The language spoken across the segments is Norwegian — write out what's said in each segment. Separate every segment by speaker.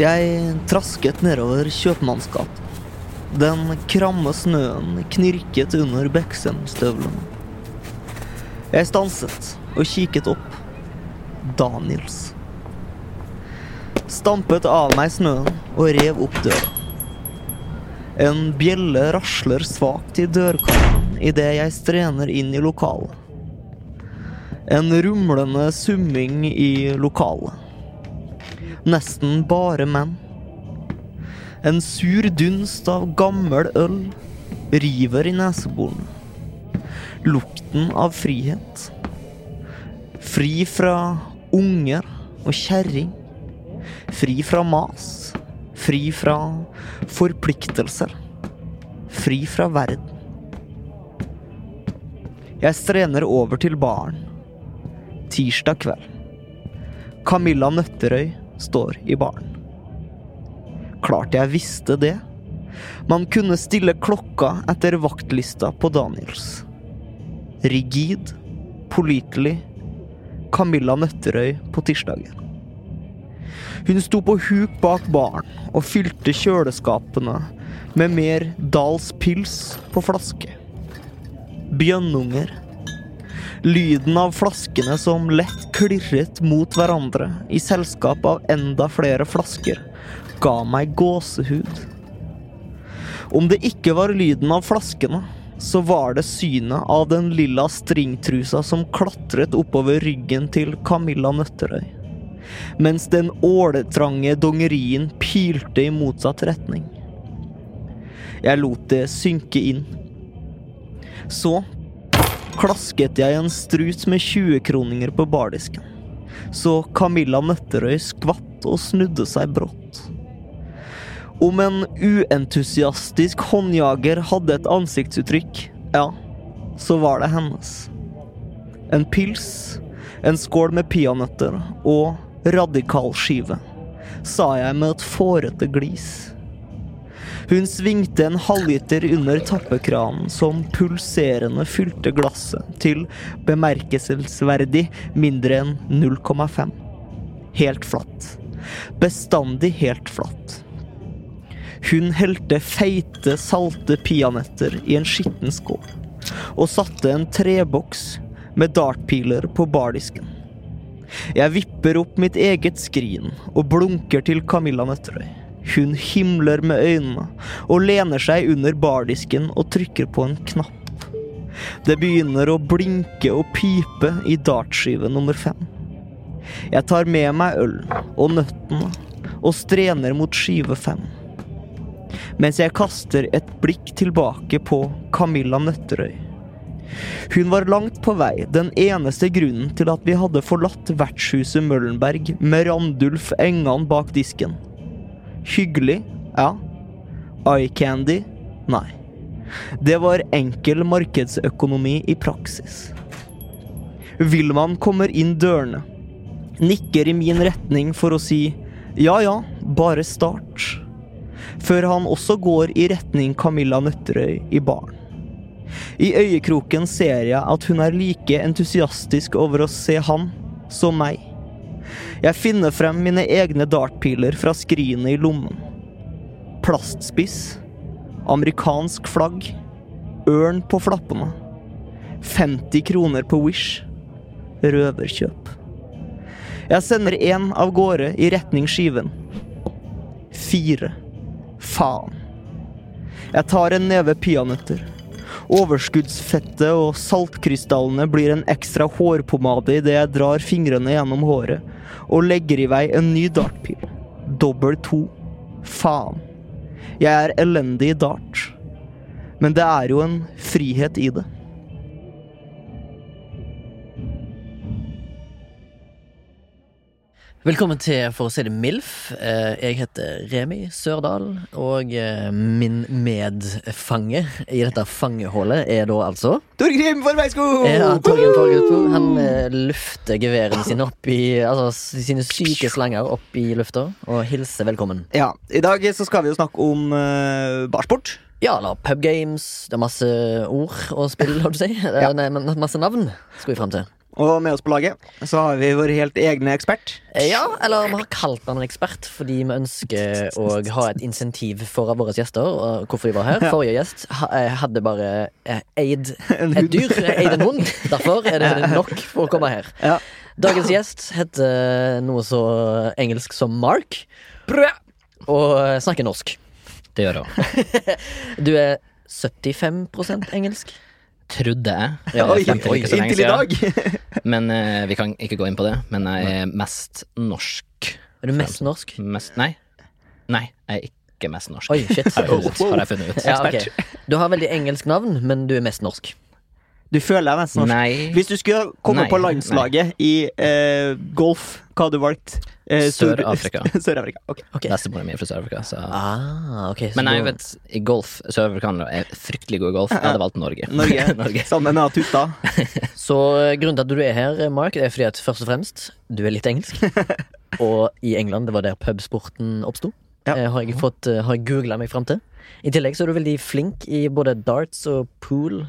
Speaker 1: Jeg trasket nedover Kjøpmannsgat. Den kramme snøen knirket under Beksem-støvlene. Jeg stanset og kikket opp. Daniels. Stampet av meg snøen og rev opp døra. En bjelle rasler svakt i dørkarmen idet jeg strener inn i lokalet. En rumlende summing i lokalet nesten bare menn. En sur dunst av gammel øl river i neseborene. Lukten av frihet. Fri fra unger og kjerring. Fri fra mas. Fri fra forpliktelser. Fri fra verden. Jeg strener over til baren. Tirsdag kveld. Camilla Nøtterøy står i baren. Klart jeg visste det. Man kunne stille klokka etter vaktlista på Daniels. Rigid, pålitelig, Camilla Nøtterøy på tirsdager. Hun sto på huk bak baren og fylte kjøleskapene med mer Dahls pils på flaske. Bjønnunger Lyden av flaskene som lett klirret mot hverandre i selskap av enda flere flasker, ga meg gåsehud. Om det ikke var lyden av flaskene, så var det synet av den lilla stringtrusa som klatret oppover ryggen til Camilla Nøtterøy, mens den åletrange dongerien pilte i motsatt retning. Jeg lot det synke inn. Så klasket jeg en strut med 20-kroninger på bardisken. Så Camilla Nøtterøy skvatt og snudde seg brått. Om en uentusiastisk håndjager hadde et ansiktsuttrykk, ja, så var det hennes. En pils, en skål med peanøtter og radikalskive, sa jeg med et fårete glis. Hun svingte en halvliter under tappekranen som pulserende fylte glasset til bemerkelsesverdig mindre enn 0,5. Helt flatt. Bestandig helt flatt. Hun helte feite, salte peanøtter i en skitten skål og satte en treboks med dartpiler på bardisken. Jeg vipper opp mitt eget skrin og blunker til Camilla Nøtterøy. Hun himler med øynene og lener seg under bardisken og trykker på en knapp. Det begynner å blinke og pipe i dartskive nummer fem. Jeg tar med meg ølen og nøttene og strener mot skive fem. Mens jeg kaster et blikk tilbake på Camilla Nøtterøy. Hun var langt på vei den eneste grunnen til at vi hadde forlatt vertshuset Møllenberg med Randulf Engan bak disken. Hyggelig, ja. Eye-candy, nei. Det var enkel markedsøkonomi i praksis. Wilman kommer inn dørene, nikker i min retning for å si ja ja, bare start, før han også går i retning Camilla Nøtterøy i baren. I øyekroken ser jeg at hun er like entusiastisk over å se han som meg. Jeg finner frem mine egne dartpiler fra skrinet i lommen. Plastspiss. Amerikansk flagg. Ørn på flappene. 50 kroner på Wish. Røverkjøp. Jeg sender én av gårde i retning skiven. Fire. Faen. Jeg tar en neve peanøtter. Overskuddsfettet og saltkrystallene blir en ekstra hårpomade idet jeg drar fingrene gjennom håret og legger i vei en ny dartpil. Dobbel to. Faen. Jeg er elendig i dart. Men det er jo en frihet i det.
Speaker 2: Velkommen til For å si det MILF. Eh, Jeg heter Remi Sørdal, og eh, min medfange i dette fangehullet er da altså
Speaker 1: Torgrim Formeisko!
Speaker 2: Ja, Torgen Torgutto. Han eh, lufter geværene sine opp i Altså s- sine syke slanger opp i lufta, og hilser velkommen.
Speaker 1: ja, I dag så skal vi jo snakke om eh, barsport.
Speaker 2: Ja, eller pub games. Det er masse ord og spill, holdt du på å si. Eh, Nei, men masse navn skal vi fram til.
Speaker 1: Og med oss på laget så har vi vår helt egne ekspert.
Speaker 2: Eh, Ja, eller vi har kalt han en ekspert fordi vi ønsker å ha et insentiv for våre gjester. Og hvorfor de var her. Forrige gjest ha- eh, hadde bare eh, eid
Speaker 1: En
Speaker 2: et dyr, eh, eid en hund. Derfor er det nok for å komme her.
Speaker 1: Ja.
Speaker 2: Dagens gjest heter noe så engelsk som Mark. Og eh, snakker norsk.
Speaker 3: Det gjør hun.
Speaker 2: Du er 75 engelsk.
Speaker 3: Trodde jeg.
Speaker 2: Ja,
Speaker 3: Eh,
Speaker 1: Oi,
Speaker 3: frem til
Speaker 1: oi,
Speaker 3: ikke så lenge
Speaker 1: inntil i
Speaker 3: siden.
Speaker 1: dag.
Speaker 3: Men eh, vi kan ikke gå inn på det. Men jeg er mest norsk.
Speaker 2: Er du mest norsk?
Speaker 3: Mest Nei. Nei, jeg er ikke mest norsk.
Speaker 2: Oi, shit.
Speaker 3: Har jeg funnet ut. Har jeg funnet ut.
Speaker 2: Ja, ok. Du har veldig engelsk navn, men du er mest norsk.
Speaker 1: Du føler deg nesten norsk.
Speaker 3: Nei.
Speaker 1: Hvis du skulle komme
Speaker 3: Nei,
Speaker 1: på landslaget i eh, golf, hva hadde du valgt? Eh, Stor-
Speaker 3: Sør-Afrika.
Speaker 1: Sør-Afrika, ok.
Speaker 2: Ok.
Speaker 3: Bestemora mi er fra Sør-Afrika, så
Speaker 2: Ah, ok så
Speaker 3: Men nei,
Speaker 2: da-
Speaker 3: vet, i golf Sør-afrikanere er fryktelig gode i golf. Jeg hadde valgt Norge.
Speaker 1: Norge. Sammen med Tuta.
Speaker 2: Så eh, grunnen til at du er her, Mark, er fordi at først og fremst du er litt engelsk. og i England, det var der pubsporten oppsto.
Speaker 1: Ja. Mhm.
Speaker 2: Eh, Har jeg fått, eh, har jeg googla meg fram til. I tillegg så er du veldig flink i både darts og pool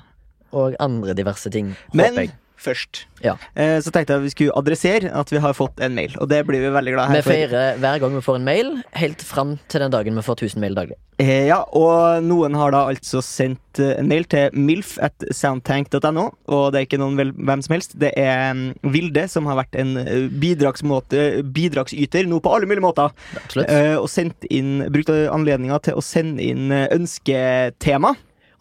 Speaker 2: og andre diverse ting.
Speaker 1: Men
Speaker 2: håper jeg.
Speaker 1: først
Speaker 2: Ja.
Speaker 1: eh, så tenkte jeg vi skulle adressere at vi har fått en mail, og det blir vi veldig glad
Speaker 2: Vi
Speaker 1: her for.
Speaker 2: feirer hver gang vi får en mail, helt fram til den dagen vi får 1000 mail daglig.
Speaker 1: Eh, ja, og noen har da altså sendt eh, en mail til milf at soundtank.no, og det er ikke noen vel, hvem som helst. Det er mm, Vilde, som har vært en eh, bidragsmåte, bidragsyter nå på alle mulige måter.
Speaker 2: Absolutt.
Speaker 1: Eh, og sendt inn, brukte anledninga til å sende inn eh, ønsketema.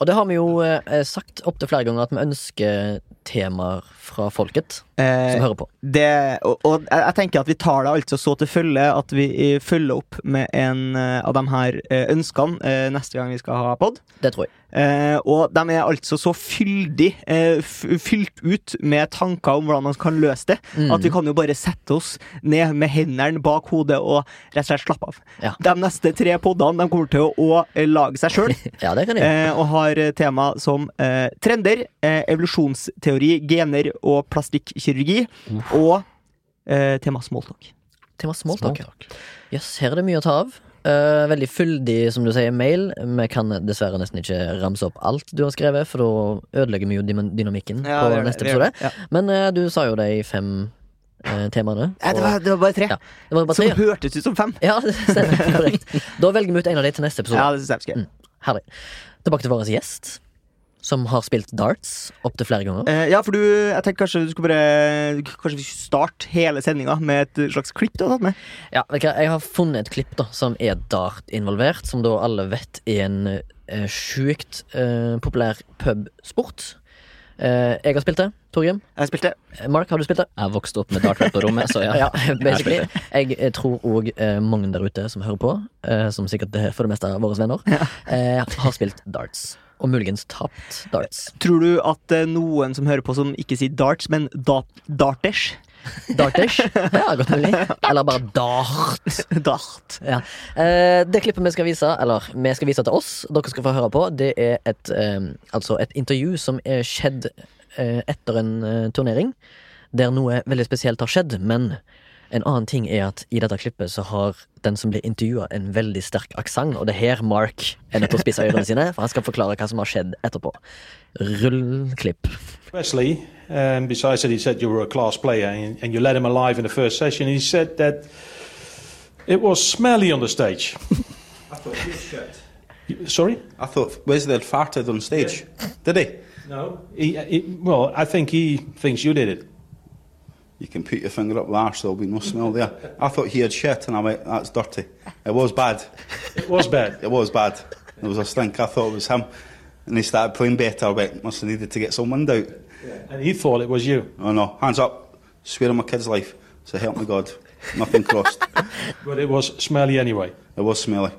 Speaker 2: Og det har vi jo eh, sagt opptil flere ganger, at vi ønsker temaer fra folket
Speaker 1: Eh,
Speaker 2: som hører på.
Speaker 1: det, og, og jeg jeg tenker at vi tar det altså så til følge at vi eh, følger opp med en eh, av de her eh, ønskene eh, neste gang vi skal ha pod.
Speaker 2: Det tror jeg.
Speaker 1: Eh, og de er altså så fyldig eh, f fylt ut med tanker om hvordan man kan løse det, at vi kan jo bare sette oss ned med hendene bak hodet og rett og slett slappe av.
Speaker 2: Ja.
Speaker 1: De neste tre podene de kommer til å, å eh, lage seg sjøl.
Speaker 2: Ja, det kan jeg.
Speaker 1: Eh, og har eh, tema som eh, trender, eh, evolusjonsteori, gener og plastikkirurgi. Og eh, tema smalltalk.
Speaker 2: Tema smalltalk. ja. Yes, her er det mye å ta av. Eh, veldig fyldig, som du sier, mail. Vi kan dessverre nesten ikke ramse opp alt du har skrevet, for da ødelegger vi jo dyna- dynamikken på neste episode. Men eh, du sa jo de fem eh, temaene.
Speaker 1: Nei, det,
Speaker 2: og-
Speaker 1: var, det var bare tre.
Speaker 2: Ja, det var bare
Speaker 1: som
Speaker 2: tre. ja.
Speaker 1: hørtes ut som fem.
Speaker 2: Ja, det stemmer. Korrekt. Da velger vi ut en av de til neste episode.
Speaker 1: Ja, det synes jeg vi skal gjøre.
Speaker 2: Herlig. Tilbake til vår gjest, som har spilt darts opptil flere ganger.
Speaker 1: Eh, ja, for du, jeg tenker kanskje du skulle bare Kanskje vi skulle starte hele sendinga med et slags klipp du har tatt med?
Speaker 2: Ja, vet du hva, Jeg har funnet et klipp da som er dart involvert, som da alle vet er en eh, sjukt eh, populær pubsport. Eh, jeg har spilt det, Torgrim.
Speaker 1: Jeg spilte.
Speaker 2: Eh, Mark, har du spilt det?
Speaker 3: Jeg vokste opp med dartbredt på rommet, så ja.
Speaker 2: Ja, basically. Jeg, eh, tror òg eh, mange der ute som hører på, eh, som sikkert er for det meste er våre venner, eh, har spilt darts. Og muligens tapt darts.
Speaker 1: Tror du at det er noen som hører på som ikke sier darts, men da, darters?
Speaker 2: Dartish? Ja, godt mulig. Eller bare dart.
Speaker 1: Dart.
Speaker 2: Ja. Eh, det klippet vi skal vise, eller vi skal vise til oss, dere skal få høre på, det er et, eh, altså et intervju som er skjedd eh, etter en eh, turnering, der noe veldig spesielt har skjedd, men en annen ting er at i dette klippet så har den som blir intervjua, en veldig sterk aksent, og det er her Mark er nødt til å spisse ørene sine, for han skal forklare hva som har skjedd etterpå. Rull klipp.
Speaker 4: Wesley, um, besides that, he said you were a class player and, and you let him alive in the first session. He said that it was smelly on the stage.
Speaker 5: I thought he was shit.
Speaker 4: You- Sorry?
Speaker 5: I thought Wesley had farted on stage. Did he?
Speaker 4: No. He, he- well, I think he thinks you did it.
Speaker 5: You can put your finger up there, so there'll be no smell there. I thought he had shit, and I went, that's dirty. It was bad.
Speaker 4: It was bad.
Speaker 5: It was bad. There was a stink. I thought it was him. And he started playing better. I went, must have needed to get some wind out.
Speaker 4: And he thought it was you.
Speaker 5: Oh no, hands up. Swear on my kid's life. So help me God. Nothing crossed.
Speaker 4: But it was smelly anyway.
Speaker 5: It was smelly.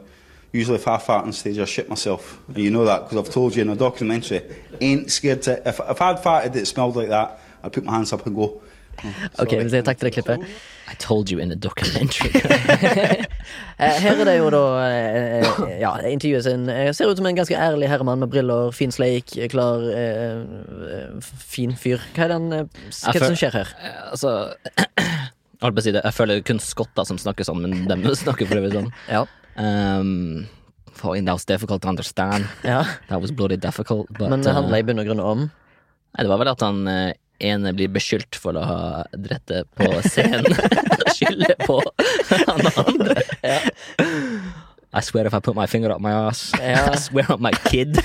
Speaker 5: Usually, if I fart on stage, I shit myself. And you know that because I've told you in a documentary, ain't scared to. If, if I'd farted that smelled like that, I'd put my hands up and go,
Speaker 2: Ok, vi sier takk til det klippet.
Speaker 3: I told you in a documentary.
Speaker 2: Eh, Her er det jo da eh, eh, Ja, intervjuet sin eh, ser ut som en ganske ærlig herremann med briller, fin sleik, eh, klar eh, eh, Fin fyr. Hva er, den, eh, hva er det som skjer her?
Speaker 3: Eh, altså jeg holdt på å si det. Jeg føler det er kun skotter som snakker sånn, men dem snakker for øvrig sånn.
Speaker 2: Ja.
Speaker 3: Um, Fine, that was difficult to understand.
Speaker 2: ja.
Speaker 3: That was bloody difficult. But,
Speaker 2: Men det
Speaker 3: eh,
Speaker 2: handler i bunn og grunn om
Speaker 3: Nei, det var vel at han eh, ene blir beskyldt for å ha drept det på scenen. Skylder på han andre. I swear if I put my finger up my ass,
Speaker 2: Ja.
Speaker 3: I swear on my kid.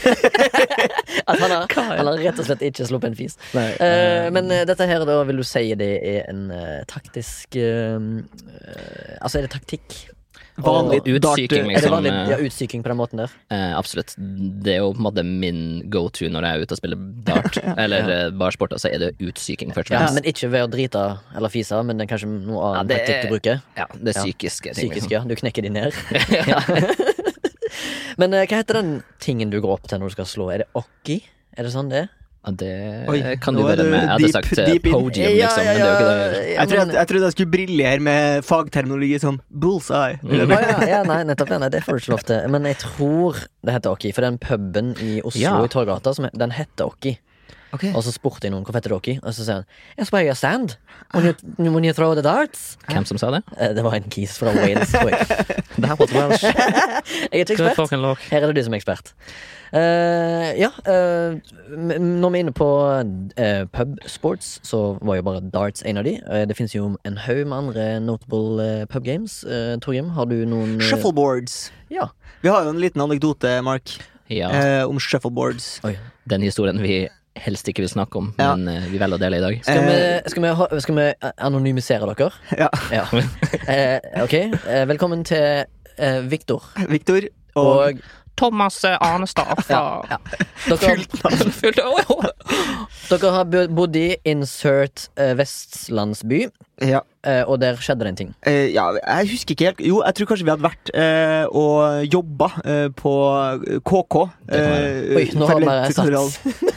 Speaker 2: at han har, han har rett og slett ikke sluppet en fis.
Speaker 3: Nei,
Speaker 2: Eh, men eh, dette her, da, vil du si det er en eh, taktisk eh, eh, Altså, er det taktikk?
Speaker 1: Vanlig
Speaker 3: Og utsyking,
Speaker 1: dart-
Speaker 2: er det
Speaker 3: liksom.
Speaker 2: vanlig
Speaker 3: eh,
Speaker 2: ja, utsyking på den måten der?
Speaker 3: eh, absolutt. Det er jo på en måte min go to når jeg er ute og spiller dart, eller eh, barsporter, så er det utsyking først og
Speaker 2: Ja,
Speaker 3: fremst.
Speaker 2: men ikke ved å drite eller fise, men det er kanskje noe
Speaker 3: Ja,
Speaker 2: annet
Speaker 3: det
Speaker 2: taktikk
Speaker 3: er-
Speaker 2: du bruker?
Speaker 3: Ja, det
Speaker 2: Ja.
Speaker 3: psykiske. ting, liksom.
Speaker 2: Psykisk, ja. Du knekker de ned. Men eh, hva heter den tingen du går opp til når du skal slå? Er det okki? Er det sånn det er?
Speaker 3: Liksom. Ja, det
Speaker 1: Oi,
Speaker 3: kan
Speaker 1: nå
Speaker 3: du
Speaker 1: er
Speaker 3: være
Speaker 1: du
Speaker 3: med. Jeg hadde
Speaker 1: deep-
Speaker 3: sagt eh,
Speaker 1: deep in.
Speaker 3: podium, liksom, men det er jo ikke det.
Speaker 2: ja,
Speaker 1: Jeg trodde,
Speaker 2: men-
Speaker 1: at- jeg trodde jeg skulle briljere med fagterminologi sånn bullseye.
Speaker 2: Å, ja, ja, nei, nettopp. Ja, nei, det får du ikke lov til. Men jeg tror det heter Okki, for den puben i Oslo
Speaker 3: Ja.
Speaker 2: i Torgata, som, den heter Okki. Og så spurte jeg noen hvorfor heter det Okki, og så sier han Yes, where you stand? When you, when you throw the darts?
Speaker 3: Hvem som sa det?
Speaker 2: Eh, Det var en kis fra Wales, tror jeg.
Speaker 3: Det her var Welsh.
Speaker 2: Jeg er ikke ekspert. Her er det du som er ekspert. Eh, ja, eh, m- m- når vi er inne på eh, pub sports, så var jo bare darts en av de. Eh, det finnes jo en haug med andre notable eh, pub games. Eh, Torgrim, har du noen eh,
Speaker 1: Shuffleboards.
Speaker 2: Ja.
Speaker 1: Vi har jo en liten anekdote, Mark,
Speaker 3: Ja,
Speaker 1: eh, om shuffleboards.
Speaker 2: Oi.
Speaker 3: den historien vi helst ikke vil snakke om,
Speaker 1: Ja.
Speaker 3: men eh, vi velger å dele i dag.
Speaker 2: Skal vi, skal vi, ha- skal vi anonymisere dere?
Speaker 1: Ja.
Speaker 2: Ja. Eh, ok, eh, velkommen til eh, Viktor
Speaker 1: Viktor og,
Speaker 2: og
Speaker 6: Thomas eh, Arnestad fra
Speaker 2: dere,
Speaker 6: Fullt år.
Speaker 2: dere har bo- bodd i insert eh, vestlandsby,
Speaker 1: ja,
Speaker 2: eh, og der skjedde det en ting.
Speaker 1: eh, ja, jeg husker ikke helt Jo, jeg tror kanskje vi hadde vært eh, og jobba eh, på eh, KK.
Speaker 3: Det kan være.
Speaker 2: Oi, nå har vi
Speaker 1: Toilettkontroll.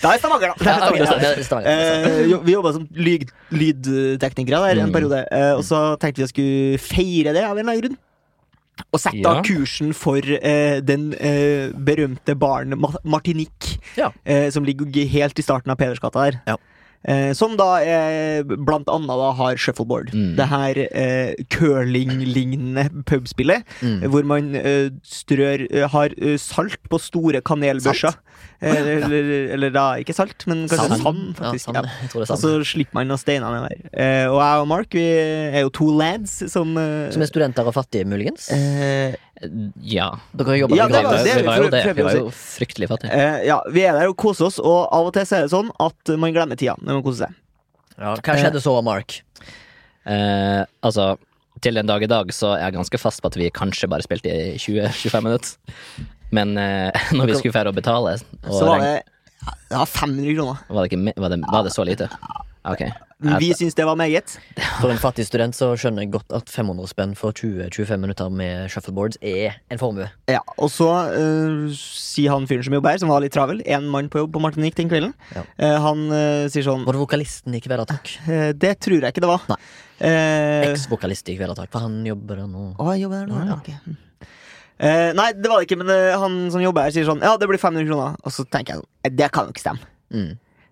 Speaker 1: Da er Stavanger, da! Det er
Speaker 2: Eh, Ja, ok,
Speaker 1: Stavanger.
Speaker 2: det er Mm. Stavanger.
Speaker 1: Eh, jo, vi jobba som lyd, lydteknikere der en periode, eh, og så
Speaker 2: Mm.
Speaker 1: tenkte vi jeg skulle feire det av en eller annen grunn. Og sette da
Speaker 3: Ja.
Speaker 1: kursen for eh, den eh, berømte baren Ma Martinique,
Speaker 2: Ja.
Speaker 1: eh, som ligger g- helt i starten av Pedersgata der.
Speaker 2: Ja.
Speaker 1: Eh, som da eh, blant annet da har shuffleboard.
Speaker 3: Mm.
Speaker 1: Det her eh, curling-lignende pubspillet,
Speaker 2: Mm.
Speaker 1: hvor man eh, strør eh, har eh, salt på store kanelbørser. Eh, eller, eller da ikke salt, men kanskje sand, faktisk.
Speaker 2: Ja,
Speaker 1: ja.
Speaker 2: sand. Jeg tror det er
Speaker 1: Og
Speaker 2: sand.
Speaker 1: så slipper man å steine ned der. Eh, og jeg og Mark vi er jo to lads som eh,
Speaker 2: Som er studenter og fattige, muligens?
Speaker 1: eh,
Speaker 3: Ja.
Speaker 2: Dere jobber
Speaker 1: ja,
Speaker 2: i
Speaker 1: det var-
Speaker 2: graven.
Speaker 1: det
Speaker 3: vi var jo
Speaker 1: prøver-
Speaker 3: det.
Speaker 1: prøver
Speaker 3: Vi
Speaker 1: å
Speaker 3: var
Speaker 1: si.
Speaker 3: jo fryktelig fattige.
Speaker 1: eh, ja, vi er der og koser oss, og av og til så er det sånn at man glemmer tida når man koser seg.
Speaker 2: Ja, hva skjedde så, Mark?
Speaker 3: Eh, altså, til den dag i dag så er jeg ganske fast på at vi kanskje bare spilte i 20-25 minutter. Men eh, når vi skulle fære å betale og
Speaker 1: Så var det
Speaker 3: regn-
Speaker 1: ja, 500 kroner.
Speaker 3: var, det ikke, me- var, det, var det så lite? Ok.
Speaker 1: Men Vi syns det var meget.
Speaker 2: For en fattig student så skjønner jeg godt at 500 spenn for 20-25 minutter med shuffleboards er en formue.
Speaker 1: Ja, og så eh, sier han fyren som jobber her, som var litt travel, én mann på jobb på Martinique den kvelden,
Speaker 2: Ja.
Speaker 1: eh, han eh, sier sånn
Speaker 2: Var det vokalisten i Kvelertak?
Speaker 1: eh, Det tror jeg ikke det var.
Speaker 2: Nei.
Speaker 1: Eh,
Speaker 2: Eks-vokalist i Kvelertak, for han jobber der nå.
Speaker 1: Å, jeg jobber der nå, ja, ok. hm. Eh, nei, det var det ikke, men eh, han som jobber her sier sånn Ja, det blir 500 kroner. Og så tenker jeg sånn eh, Det kan jo ikke stemme.
Speaker 2: Mm.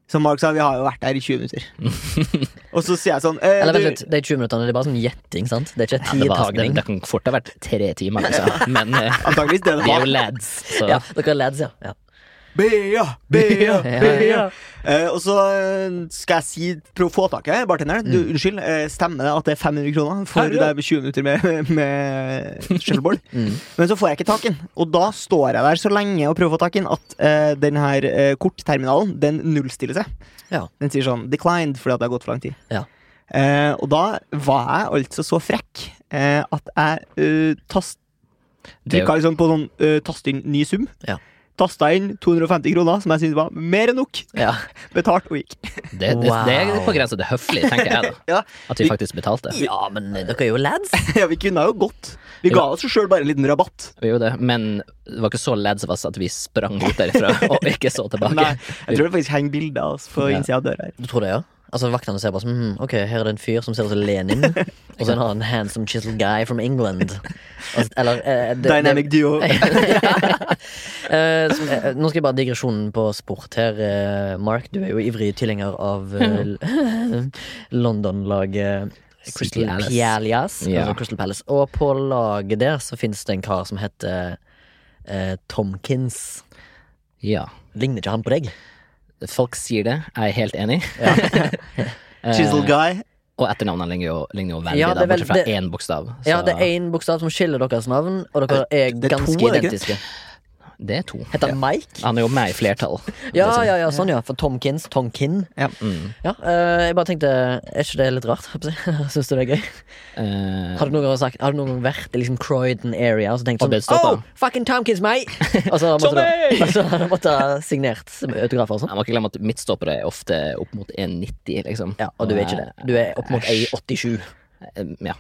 Speaker 1: Som Mark sa, vi har jo vært der i 20 minutter. og så sier jeg sånn eh,
Speaker 2: Eller
Speaker 1: du-
Speaker 2: vent litt, de 20 minuttene det er bare sånn gjetting, sant? Det er ikke
Speaker 3: Det, var, det,
Speaker 2: tidtagning.
Speaker 3: det kan fort ha vært tre timer, liksom. Men eh,
Speaker 1: Antakeligvis det det
Speaker 3: vi er jo
Speaker 1: var.
Speaker 3: lads, så
Speaker 2: Ja, dere er lads, ja. ja.
Speaker 1: Bea, Bea, Bea.
Speaker 2: Ja.
Speaker 1: Eh, og så eh, skal jeg si, prøve å få tak i bartenderen. Du,
Speaker 2: Mm.
Speaker 1: Unnskyld, eh, stemmer det at det er 500 kroner for det med 20 minutter med, med shuffleboard?
Speaker 2: Mm.
Speaker 1: Men så får jeg ikke tak i den, og da står jeg der så lenge og prøver å få tak i den at eh, den her eh, kortterminalen den nullstiller seg.
Speaker 2: Ja.
Speaker 1: Den sier sånn 'declined' fordi at det har gått for lang tid.
Speaker 2: Ja.
Speaker 1: Eh, og da var jeg altså så frekk eh, at jeg eh, tast,
Speaker 3: Det er jo-
Speaker 1: trykka liksom på sånn eh, tast inn ny sum.
Speaker 2: Ja.
Speaker 1: Tasta inn 250 kroner, som jeg syntes var mer enn nok.
Speaker 2: ja.
Speaker 1: Betalt og gikk.
Speaker 3: det, det, det er på grensa til høflig, tenker jeg, da.
Speaker 1: Ja.
Speaker 3: At vi faktisk betalte.
Speaker 2: ja, men eh, dere er jo lads.
Speaker 1: Ja, vi kunne jo gått. Vi ga oss sjøl bare en liten rabatt.
Speaker 3: Vi gjorde det, men det var ikke så lads av oss at vi sprang ut derifra og ikke så tilbake.
Speaker 1: Nei, jeg tror det faktisk henger bilder av oss på
Speaker 3: Ja.
Speaker 1: innsida av døra her.
Speaker 2: Du tror det, ja? Altså Vaktene ser bare som hmm, Ok, her er det en fyr som ser ut som Lenin, og så en annen handsome chisel guy from England. Altså, eller eh, det- det-
Speaker 1: Dynamic duo.
Speaker 2: Eh, som- eh, nå skal jeg bare ha digresjonen på sport her. Eh, Mark, du er jo ivrig tilhenger av eh, London-laget Crystal
Speaker 3: Palace.
Speaker 2: Palace.
Speaker 3: Ja.
Speaker 2: Altså Crystal Palace. Og på laget der så finnes det en kar som heter eh, Tomkins.
Speaker 3: Ja.
Speaker 2: Ligner ikke han på deg?
Speaker 3: Folk sier det, jeg er helt enig. Eh,
Speaker 1: Chisel guy.
Speaker 3: og etternavnet ligner jo, ligner jo veldig,
Speaker 2: Ja,
Speaker 3: da,
Speaker 2: det er vel-
Speaker 3: bortsett fra
Speaker 2: det-
Speaker 3: én bokstav.
Speaker 2: Ja,
Speaker 3: så-
Speaker 2: det er én bokstav som skiller deres navn, og dere er
Speaker 1: Eh, det er to,
Speaker 2: ganske
Speaker 1: er det ikke?
Speaker 2: identiske.
Speaker 3: det er to.
Speaker 2: Heter han Mike?
Speaker 3: Han er jo med i flertall.
Speaker 2: Ja, ja, ja, sånn ja. For Tomkins. Tomkin.
Speaker 1: Ja.
Speaker 3: Mm.
Speaker 2: Ja, eh, jeg bare tenkte Er ikke det litt rart? Syns du det er gøy?
Speaker 3: Eh,
Speaker 2: Har du noen gang, sagt, har du noen gang vært i liksom Croydon area og så tenkt
Speaker 3: Og
Speaker 2: sånn
Speaker 3: blitt stoppet?
Speaker 2: Oh, fucking Tomkins, mate! Og så måtte du- og så måtte ha signert autografer og sånn.
Speaker 3: jeg må ikke glemme at midtstoppere er ofte opp mot 1,90, liksom.
Speaker 2: Ja, og du er ikke det. Du er opp mot A87.
Speaker 3: Eh, Ja.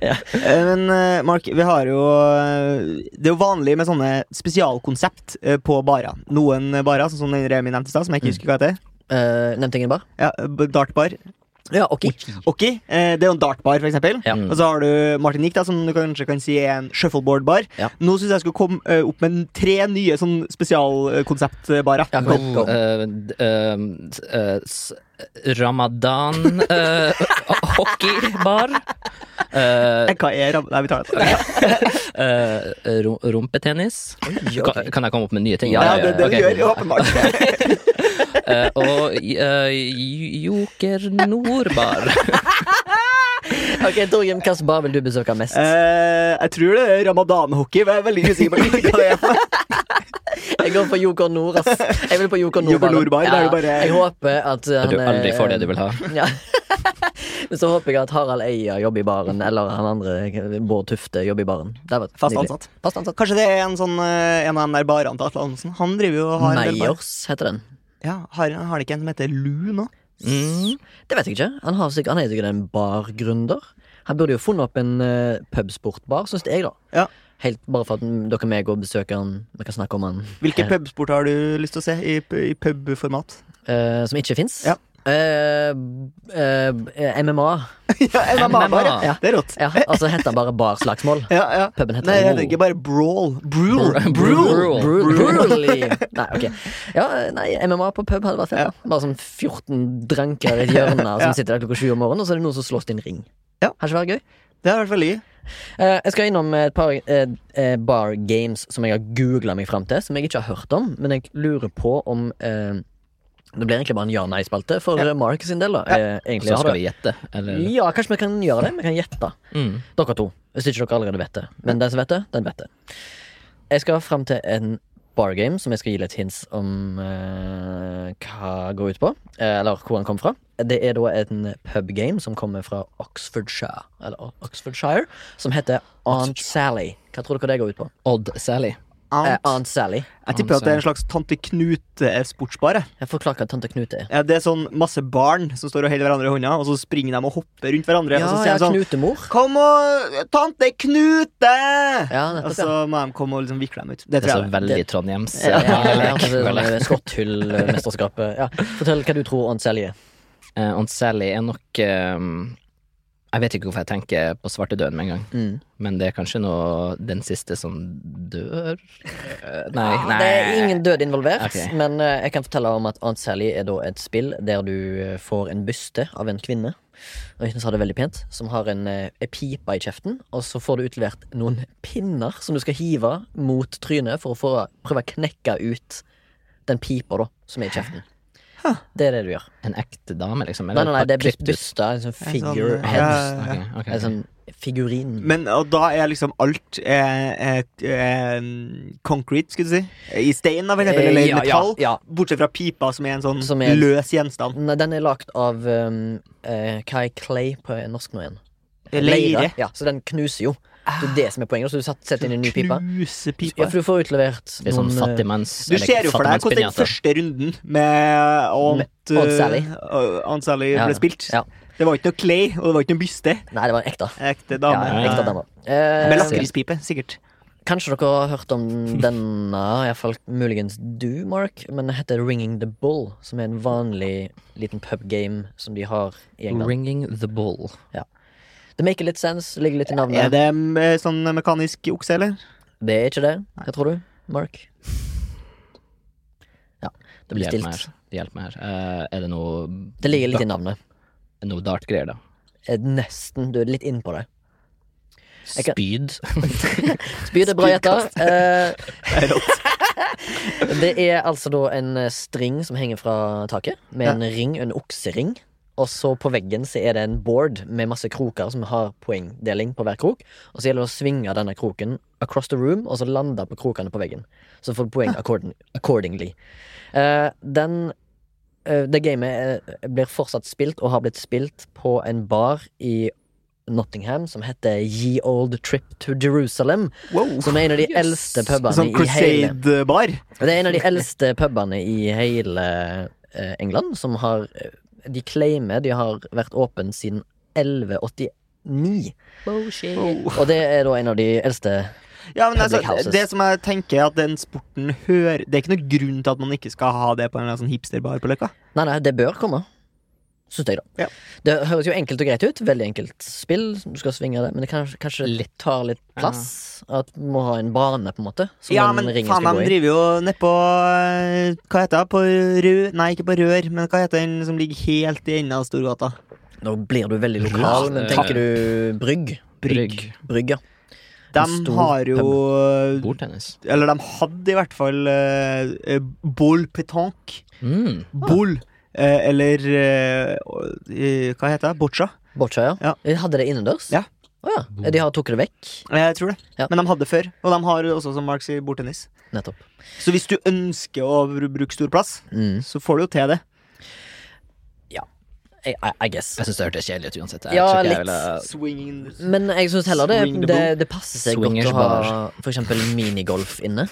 Speaker 1: Eh, Men eh, Mark, vi har jo eh, Det er jo vanlig med sånne spesialkonsept eh, på barer. Noen eh, barer, sånn som den Remi nevnte i stad, som jeg ikke
Speaker 2: Mm.
Speaker 1: husker hva heter.
Speaker 2: Eh, nevnte jeg en bar?
Speaker 1: Ja, b- dartbar.
Speaker 2: Ja, ok.
Speaker 1: Okki. eh, Det er jo en dartbar, for eksempel.
Speaker 2: Ja.
Speaker 1: Og så har du Martinique, da, som du kanskje kan si er en shuffleboardbar.
Speaker 2: Ja.
Speaker 1: Nå syns jeg skulle komme eh, opp med en- tre nye sånn spesialkonseptbarer.
Speaker 2: Ja, go, go.
Speaker 3: Eh, d- eh, s- eh, s- Ramadan eh, hockeybar. Eh,
Speaker 1: Eh, Hva er ram... Nei, vi tar det.
Speaker 3: eh, ru- rumpetennis. Kan, kan jeg komme opp med nye ting?
Speaker 1: Ja, det, det
Speaker 3: ok.
Speaker 1: du gjør, åpenbart.
Speaker 3: Eh, og eh, J- Joker Nordbar.
Speaker 2: Ok, Torgrim, hvilken bar vil du besøke mest?
Speaker 1: Eh, jeg tror det er ramadanhockey. men Jeg er veldig usikker på hva det er. for
Speaker 2: Jeg går for Joker Nord, ass. Jeg vil på Joker Nord.
Speaker 1: Joker Nordbar, det er jo bare-
Speaker 2: Jeg håper at uh, han
Speaker 3: Du
Speaker 2: er-
Speaker 3: aldri får det du vil ha.
Speaker 2: Ja. Men så håper jeg at Harald Eia jobber i baren, eller han andre Bård Tufte jobber i baren. Det hadde vært
Speaker 1: Fast
Speaker 2: nydelig.
Speaker 1: ansatt.
Speaker 2: Fast ansatt.
Speaker 1: Kanskje det er en, sånn, eh, en av de der barene til Atle Antonsen. Han driver jo og har en del bar.
Speaker 2: Meyers heter den.
Speaker 1: Ja, har, har han ikke en som heter Lu nå? Mm.
Speaker 2: Det vet jeg ikke. Han, har sikkert, han er sikkert en bargründer. Han burde jo funnet opp en eh, pubsportbar, syns jeg, da.
Speaker 1: Ja.
Speaker 2: Helt bare for at mm, dere med går og besøker han, vi kan snakke om han,
Speaker 1: Hvilke
Speaker 2: Ja.
Speaker 1: pubsport har du lyst til å se i, p- i pubformat?
Speaker 2: eh, som ikke Eh, fins.
Speaker 1: Ja.
Speaker 2: MMA.
Speaker 1: ja, MMA-bar, ja. ja. Det er rått.
Speaker 2: Ja, altså heter han bare barslagsmål.
Speaker 1: Ja, ja.
Speaker 2: Puben heter
Speaker 1: Nei, det
Speaker 2: Brawl.
Speaker 1: heter ikke bare Brawl. Brule.
Speaker 3: Br-
Speaker 1: Brule.
Speaker 3: Brule.
Speaker 2: Bru- Brutally. Nei, ok. Ja, nei, MMA på pub hadde vært fett. da. Bare sånn 14 dranker i et hjørne som
Speaker 1: Ja.
Speaker 2: sitter der klokka sju om morgenen, og så er det noen som slåss i en ring.
Speaker 1: Ja.
Speaker 2: Har ikke vært gøy?
Speaker 1: Det har vært veldig gøy.
Speaker 2: Eh, jeg skal innom et par eh, eh, bar games som jeg har googla meg fram til, som jeg ikke har hørt om, men jeg lurer på om eh, Det blir egentlig bare en ja-nei-spalte for eh, Mark sin del, da. Eh, egentlig
Speaker 3: Så
Speaker 2: har Mm.
Speaker 3: skal
Speaker 2: det-
Speaker 3: vi gjette, eller?
Speaker 2: ja, kanskje vi kan gjøre det. Vi kan gjette.
Speaker 3: Mm.
Speaker 2: Dere to, hvis ikke dere allerede vet det. Men den som vet det, den vet det. Jeg skal fram til en bargame som jeg skal gi litt hints om eh, hva går ut på. eh, eller hvor den kommer fra. Det er da en pubgame som kommer fra Oxfordshire, eller Oxfordshire som heter Aunt Sally. Hva tror dere det går ut på?
Speaker 3: Odd Sally.
Speaker 2: Eh,
Speaker 1: Aunt.
Speaker 2: Aunt Sally.
Speaker 1: Jeg tipper at det er en slags Tante Knute-sportsbar. jeg.
Speaker 2: Jeg forklarer hva tante Knut er.
Speaker 1: Ja, det er sånn masse barn som står og holder hverandre i hånda, og så springer de og hopper rundt hverandre.
Speaker 2: Ja,
Speaker 1: og så
Speaker 2: ja,
Speaker 1: ser de sånn
Speaker 2: Altså, Knutemor.
Speaker 1: Kom og Tante Knute!
Speaker 2: Ja, nettopp,
Speaker 1: og så må de komme og liksom vikle dem ut. Det
Speaker 3: Det er
Speaker 1: tror
Speaker 3: så
Speaker 1: jeg.
Speaker 3: veldig Trondheims.
Speaker 2: Ja,
Speaker 3: eh,
Speaker 2: ja,
Speaker 3: lek,
Speaker 2: altså,
Speaker 3: vel.
Speaker 2: sånn, eh, Skotthullmesterskapet. Ja. Fortell hva du tror Aunt Sally er.
Speaker 3: Eh, Aunt Sally er nok ehm, Jeg vet ikke hvorfor jeg tenker på svartedauden med en gang,
Speaker 2: Mm.
Speaker 3: men det er kanskje noe den siste som dør Eh, Nei,
Speaker 2: Ja,
Speaker 3: nei.
Speaker 2: Det er ingen død involvert,
Speaker 3: Ok.
Speaker 2: men eh, jeg kan fortelle om at Aunt Sally er da et spill der du eh, får en byste av en kvinne. Og jeg synes han er veldig pent Som har en eh, en pipe i kjeften, og så får du utlevert noen pinner som du skal hive mot trynet for å få, prøve å knekke ut den pipa da, som er i kjeften. Det er det du gjør.
Speaker 3: En ekte dame, liksom?
Speaker 2: Nei, nei, nei det er
Speaker 3: klippet
Speaker 2: bys- bysta. En sånn
Speaker 1: sånn,
Speaker 2: figurehead.
Speaker 1: ja, ja, ja.
Speaker 3: Ok, ok.
Speaker 2: En sånn figurin.
Speaker 1: Men og da er liksom alt eh, eh, eh, concrete, skulle du si. I stein, da, for eksempel,
Speaker 2: Eh,
Speaker 1: eller i
Speaker 2: ja, ja,
Speaker 1: metall.
Speaker 2: ja.
Speaker 1: Bortsett fra pipa, som er en sånn
Speaker 2: Som er-
Speaker 1: løs gjenstand.
Speaker 2: Nei, den er lagd av um, eh, Hva er clay på norsk nå igjen?
Speaker 1: Leire.
Speaker 2: Ja, så den knuser jo. Det er det som er poenget. Så du satt- setter inn en ny pipe.
Speaker 1: Knuse
Speaker 2: Ja,
Speaker 1: pipa.
Speaker 2: for du får utlevert
Speaker 3: Ah, Det er sånn
Speaker 2: noen, eh,
Speaker 3: fattigmanns...
Speaker 1: Du ser jo for deg hvordan den første runden med Aunt,
Speaker 2: Aunt Sally.
Speaker 1: eh, Aunt Sally
Speaker 2: Ja,
Speaker 1: ble spilt.
Speaker 2: ja.
Speaker 1: Det var ikke noe clay, og det var ikke noe byste.
Speaker 2: Nei, det var en ekte.
Speaker 1: Ekte
Speaker 2: Ja,
Speaker 1: dame.
Speaker 2: en ekte dame.
Speaker 1: Med
Speaker 2: Eh,
Speaker 1: lakrispipe, sikkert.
Speaker 2: Kanskje dere har hørt om denne, iallfall muligens du, Mark, men det heter Ringing the Bull, som er en vanlig liten pubgame som de har i England.
Speaker 3: Ringing the bull.
Speaker 2: Det maker litt sense, ligger litt i navnet.
Speaker 1: Er det eh, sånn mekanisk okse, eller?
Speaker 2: Det er ikke det. Hva tror du, Mark? Ja, det blir
Speaker 3: Hjelp meg
Speaker 2: stilt.
Speaker 3: her. Hjelp meg her. Eh, er det noe,
Speaker 2: Det ligger litt i navnet.
Speaker 3: noe dart-greier, da?
Speaker 2: Eh, Nesten. Du er litt innpå det. Jeg kan-
Speaker 3: Spyd?
Speaker 2: Spyd er bra gjetta. Eh, det er altså da en eh, string som henger fra taket, med en ring, en oksering. Og så på veggen så er det en board med masse kroker som har poengdeling på hver krok. Og så gjelder det å svinge denne kroken across the room, og så lande på krokene på veggen. Så får du poeng according, accordingly. Eh, den eh, Det gamet eh, blir fortsatt spilt, og har blitt spilt på en bar i Nottingham som heter Ye Old Trip to Jerusalem.
Speaker 1: Wow.
Speaker 2: Som er en av de
Speaker 6: Yes.
Speaker 2: eldste pubene
Speaker 1: Sånn
Speaker 2: i hele
Speaker 1: Crusade-bar?
Speaker 2: Det er en av de eldste pubene i hele eh, England som har eh, De claimer de har vært åpen siden 1189.
Speaker 1: Oh.
Speaker 2: Og det er da en av de eldste
Speaker 1: Ja, men altså,
Speaker 2: Public houses.
Speaker 1: det som jeg tenker er at den sporten hører Det er ikke noen grunn til at man ikke skal ha det på en eller annen sånn hipsterbar på Løkka.
Speaker 2: Nei, nei, det bør komme. Syns jeg, da.
Speaker 1: Ja.
Speaker 2: Det høres jo enkelt og greit ut. Veldig enkelt spill. Du skal svinge det. Men det kanskje, kanskje litt, tar litt plass. At du må ha en bane, på en måte. Som
Speaker 1: Ja,
Speaker 2: den
Speaker 1: men
Speaker 2: ringen
Speaker 1: faen,
Speaker 2: skal
Speaker 1: de
Speaker 2: gå i.
Speaker 1: driver jo nedpå Hva heter det? På Rød Nei, ikke på Rør, men hva heter den som ligger helt i enden av Storgata?
Speaker 2: Nå blir du veldig lokal, men
Speaker 3: Eh,
Speaker 2: tenker du Brygg?
Speaker 3: Brygg.
Speaker 2: Brygg, ja. En
Speaker 1: De
Speaker 2: stor
Speaker 1: har jo
Speaker 3: Bordtennis.
Speaker 1: Eller de hadde i hvert fall eh, eh, Boule pétanque.
Speaker 3: Mm.
Speaker 1: Boule. Eh, eller eh, eh, Hva heter det? Boccia?
Speaker 2: Boccia, ja.
Speaker 1: Ja.
Speaker 2: De hadde det innendørs?
Speaker 1: Ja.
Speaker 2: Å ja. De har tok det vekk?
Speaker 1: Jeg tror det.
Speaker 2: Ja.
Speaker 1: Men de hadde før. Og de har også, som Mark sier, bordtennis.
Speaker 2: Nettopp.
Speaker 1: Så hvis du ønsker å br- bruke stor plass,
Speaker 2: Mm.
Speaker 1: så får du jo til det.
Speaker 2: I, I, I guess.
Speaker 3: Jeg syns det hørtes kjedelig ut uansett. Jeg
Speaker 2: Ja,
Speaker 3: tror ikke jeg
Speaker 2: litt.
Speaker 3: ville-
Speaker 1: Swinging the
Speaker 2: Men jeg syns heller det,
Speaker 1: Swing the
Speaker 2: det,
Speaker 1: ball.
Speaker 2: det passer seg
Speaker 3: Swingers
Speaker 2: godt å ha for eksempel minigolf inne.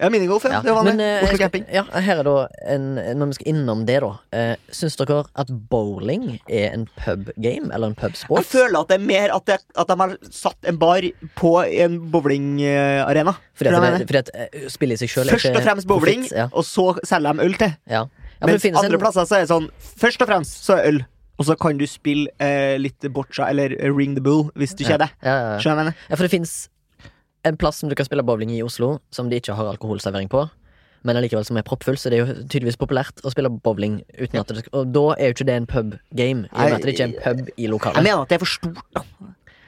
Speaker 1: Ja, minigolf, ja.
Speaker 2: Ja.
Speaker 1: Det var vanlig.
Speaker 2: Men eh,
Speaker 1: Oslo
Speaker 2: jeg skal,
Speaker 1: camping.
Speaker 2: ja, her er da en, når vi skal innom det, da. Eh, syns dere at bowling er en pubgame eller en
Speaker 1: Jeg
Speaker 2: pubsport?
Speaker 1: føler at det er mer at, det, at de har satt en bar på en bowlingarena.
Speaker 2: Fordi
Speaker 1: Tror
Speaker 2: at, det,
Speaker 1: jeg mener.
Speaker 2: fordi at eh, spillet i seg sjøl er
Speaker 1: Først
Speaker 2: ikke
Speaker 1: og fremst bowling,
Speaker 2: profitt, Ja.
Speaker 1: og så selger de øl til.
Speaker 2: Ja. Ja, men det
Speaker 1: Mens
Speaker 2: finnes
Speaker 1: andre
Speaker 2: en,
Speaker 1: plasser så er det sånn Først og fremst så er øl, og så kan du spille eh, litt boccia eller ring the bull hvis du kjeder.
Speaker 2: ja, ja, ja.
Speaker 1: Skjønner jeg mener?
Speaker 2: Ja, for det fins en plass som du kan spille bowling i i Oslo, som de ikke har alkoholservering på. Men allikevel som er proppfull, så det er jo tydeligvis populært å spille bowling. Uten at det, og da er jo ikke det en pubgame, i og med at det ikke er en pub i
Speaker 1: Jeg
Speaker 2: lokalet.
Speaker 1: mener at det er for stort. da.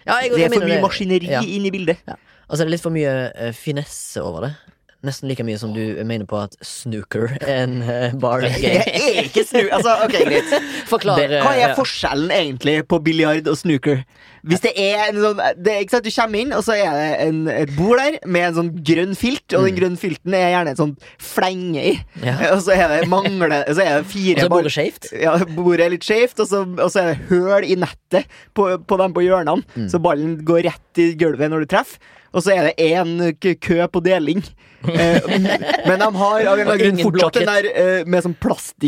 Speaker 2: Ja, jeg-
Speaker 1: Det
Speaker 2: jeg
Speaker 1: er for
Speaker 2: mener
Speaker 1: mye maskineri
Speaker 2: Ja.
Speaker 1: inn i bildet.
Speaker 2: Og så er det litt for mye eh, finesse over det. Nesten like mye som du mener på at snooker er en eh, bar
Speaker 1: Jeg
Speaker 2: game.
Speaker 1: er ikke snu... Altså, ok, greit.
Speaker 2: Forklare
Speaker 1: Hva er
Speaker 2: ja.
Speaker 1: forskjellen egentlig på biljard og snooker? Hvis det er en sånn det, er- ikke sant? Du kommer inn, og så er det en, et bord der med en sånn grønn filt, og den grønne filten er gjerne en sånn flenge i.
Speaker 2: Mm. Ja.
Speaker 1: Og så er det mangle, så er det
Speaker 2: Og så
Speaker 1: fire
Speaker 2: er altså, bordet skjevt.
Speaker 1: Ja, bordet er litt skjevt, og så, og så er det høl i nettet på, på dem på hjørnene.
Speaker 3: Mm.
Speaker 1: Så ballen går rett i gulvet når du treffer. Og så er det én k- kø på deling. Eh, men de har av en eller annen
Speaker 2: Og
Speaker 1: grunn
Speaker 2: ingen
Speaker 1: fortsatt
Speaker 2: blokkett.
Speaker 1: den der eh, med sånn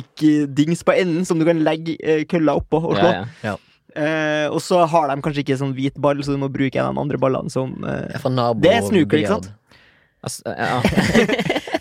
Speaker 1: plastikkdings på enden som du kan legge eh, kølla oppå og slå.
Speaker 3: Ja, ja.
Speaker 1: Eh, og så har de kanskje ikke sånn hvit ball, så du må bruke en av de andre ballene som eh,
Speaker 2: Fra nabo
Speaker 1: Det er snooker, ikke sant?
Speaker 3: Altså, ja.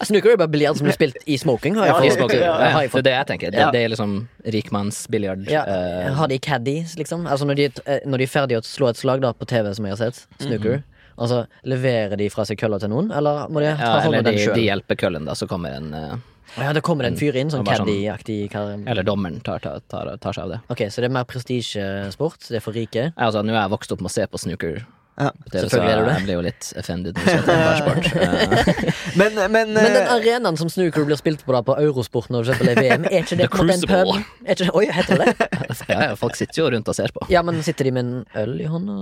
Speaker 2: Snooker er bare biljard som blir spilt i smoking. Har jeg
Speaker 1: Ja,
Speaker 2: fått.
Speaker 3: I smoking.
Speaker 1: Ja,
Speaker 2: Har
Speaker 3: Ja,
Speaker 2: jeg
Speaker 3: Det er
Speaker 2: fått.
Speaker 3: det jeg tenker. Det,
Speaker 1: Ja.
Speaker 3: det er liksom rikmannsbiljard.
Speaker 2: Ja,
Speaker 3: eh,
Speaker 2: har de caddies, liksom? Altså når de, eh, når de er ferdige å slå et slag da, på TV, som jeg har sett,
Speaker 3: Mhm.
Speaker 2: snooker, altså leverer de fra seg kølla til noen, eller må de ta
Speaker 3: ja,
Speaker 2: hånd
Speaker 3: eller
Speaker 2: om den
Speaker 3: de, de
Speaker 2: sjøl?
Speaker 3: hjelper køllen, da, så kommer en eh,
Speaker 2: Ja, det kommer det en fyr inn, sånn
Speaker 3: Ja, bare sånn-
Speaker 2: caddy-aktig kar.
Speaker 3: Eller dommeren tar, tar, tar, tar seg av det.
Speaker 2: Ok, så det er mer prestisjesport, det er for rike.
Speaker 3: Ja, Altså, Nå er jeg vokst opp med å se på snooker.
Speaker 1: Ja,
Speaker 3: på TV, så
Speaker 2: selvfølgelig er du
Speaker 3: jeg,
Speaker 2: det.
Speaker 3: jeg blir jo litt offended. Når jeg ser på barsport. Eh,
Speaker 1: Men,
Speaker 2: Men
Speaker 1: men,
Speaker 2: den
Speaker 1: eh,
Speaker 2: arenaen som snooker blir spilt på da på Eurosport når du ser på det i VM, er ikke det
Speaker 3: The
Speaker 2: på en måte en pub?
Speaker 3: Crucible.
Speaker 2: Er ikke det, oi, heter det det?
Speaker 3: ja, ja, folk sitter jo rundt og ser på.
Speaker 2: Ja, men sitter de med en øl i hånda?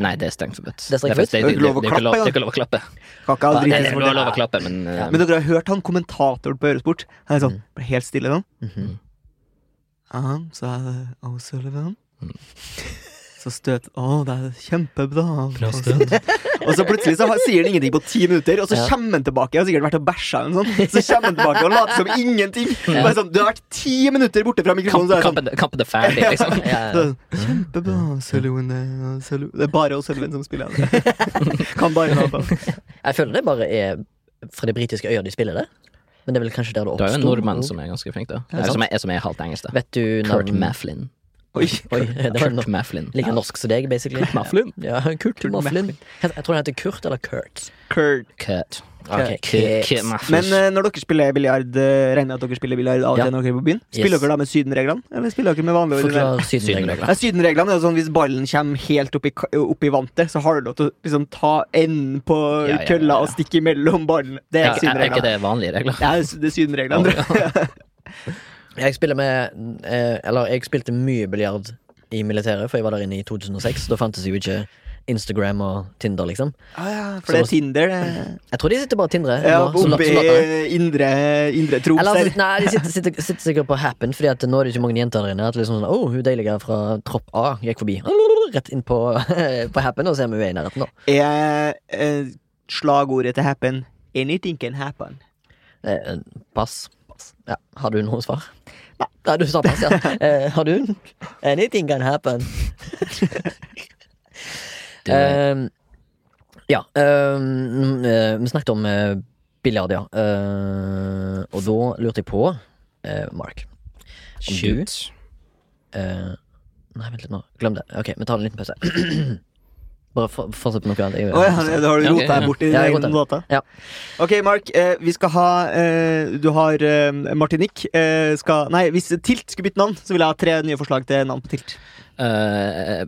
Speaker 3: Nei, det er strengt forbudt.
Speaker 2: Det er strengt forbudt?
Speaker 3: faktisk- det-
Speaker 1: Det er ikke lov å
Speaker 3: det er ikke lov-
Speaker 1: klappe, ja.
Speaker 3: Det er ikke lov å
Speaker 1: kan
Speaker 3: klappe.
Speaker 1: ikke ha
Speaker 3: Ja,
Speaker 1: driti
Speaker 3: det er
Speaker 1: for
Speaker 3: lov-
Speaker 1: det.
Speaker 3: lov å klappe, men eh,
Speaker 1: Men dere har hørt han kommentatoren på Eurosport? Han er
Speaker 2: Mm.
Speaker 1: sånn, ble helt stille sånn.
Speaker 2: Mhm.
Speaker 1: Aha, så er det O'Sullivan.
Speaker 2: Mm.
Speaker 1: Så støt Å, det er kjempebra. og så plutselig så har- sier han ingenting på ti minutter, og så
Speaker 2: Ja.
Speaker 1: kommer han tilbake. Jeg har sikkert vært og bæsja eller noe sånt. Så kommer han tilbake og later som ingenting. Bare sånn, du har vært ti minutter borte fra mikrofonen, så er det sånn
Speaker 3: kampen, kampen er ferdig, liksom.
Speaker 2: Ja,
Speaker 1: så- sånn, Kjempebra, O'Sullivan. eh, O'Sullivan. Det er bare O'Sullivan som spiller. han. kan bare ha på.
Speaker 2: ja. Jeg føler det bare er fra de britiske øyer de spiller det. Men det er vel kanskje der det
Speaker 3: Du har jo en
Speaker 2: oppsto.
Speaker 3: nordmann som er ganske flink, da.
Speaker 2: det sant?
Speaker 3: Som er, som er halvt engelsk, da.
Speaker 2: Vet du
Speaker 3: Kurt
Speaker 2: navn-
Speaker 3: Mafflin.
Speaker 1: Oi.
Speaker 2: Oi, det var
Speaker 3: Kurt
Speaker 2: no
Speaker 3: Mafflin.
Speaker 2: like norsk som deg, basically. Kurt
Speaker 3: Mafflin?
Speaker 2: Ja, Kurt Mafflin. Jeg tror han heter Kurt eller Kurt.
Speaker 1: Kurt.
Speaker 3: Kurt.
Speaker 2: Ok,
Speaker 3: Kurt.
Speaker 2: Kurt.
Speaker 3: Kurt Mafflin.
Speaker 1: Men eh, når dere spiller biljard, eh, regner jeg at dere spiller biljard av og
Speaker 2: Ja.
Speaker 1: til når dere er på byen? Spiller
Speaker 2: Yes.
Speaker 1: dere da med sydenreglene, eller spiller dere med vanlige ordinære?
Speaker 2: Forklar sydenreglene.
Speaker 1: Nei, Sydenreglene er jo sånn hvis ballen kommer helt opp i, ka- opp i vantet, så har du lov til å liksom, ta enden på
Speaker 3: Ja, ja, ja,
Speaker 1: kølla
Speaker 3: ja.
Speaker 1: og stikke imellom ballen. Det er
Speaker 3: Er, er, er ikke
Speaker 1: sydenreglene.
Speaker 3: det vanlige regler?
Speaker 1: Ja, det er- det er sydenreglene.
Speaker 2: Jeg spiller med eh, Eller jeg spilte mye biljard i militæret, for jeg var der inne i 2006. Da fantes jo ikke Instagram og Tinder, liksom.
Speaker 1: Ah, ja, for det er Tinder, det.
Speaker 2: Jeg tror de sitter bare og tindrer.
Speaker 1: Ja,
Speaker 2: nå, soldat-
Speaker 1: oppe i
Speaker 2: soldatene.
Speaker 1: indre, indre Troms
Speaker 2: Eller,
Speaker 1: der.
Speaker 2: altså, nei, de sitter, sitter, sitter sikkert på Happen, Fordi at nå er det ikke mange jenter der inne. At liksom sånn, oh, hun deilige fra tropp A gikk forbi. Rett inn på, på Happen, og ser om hun er i nærheten, da.
Speaker 1: Er eh, slagordet til Happen Anything can happen.
Speaker 2: Eh, pass. Ja. Har du noe svar? Nei, du sa pass, ja. Eh, har du? Anything can happen.
Speaker 3: Det er
Speaker 2: Eh, ja. eh, mm, eh, vi snakket om uh, biljard, ja. Eh, og da lurte jeg på, eh, Mark du-
Speaker 3: shoot.
Speaker 2: Eh, Nei, vent litt nå. Glem det. Ok, vi tar en liten pause. Bare for- fortsett med noe annet. Jeg-
Speaker 1: Å ja, det- da har du
Speaker 3: Ja, ok,
Speaker 1: rota her
Speaker 3: ja.
Speaker 1: bort i
Speaker 2: Ja, jeg
Speaker 1: dine egne data.
Speaker 2: Ja.
Speaker 1: Ok, Mark. Eh, vi skal ha eh, Du har eh, Martinique. Eh, skal, nei, hvis Tilt skulle bytte navn, så vil jeg ha tre nye forslag til navn på Tilt.
Speaker 3: Eh,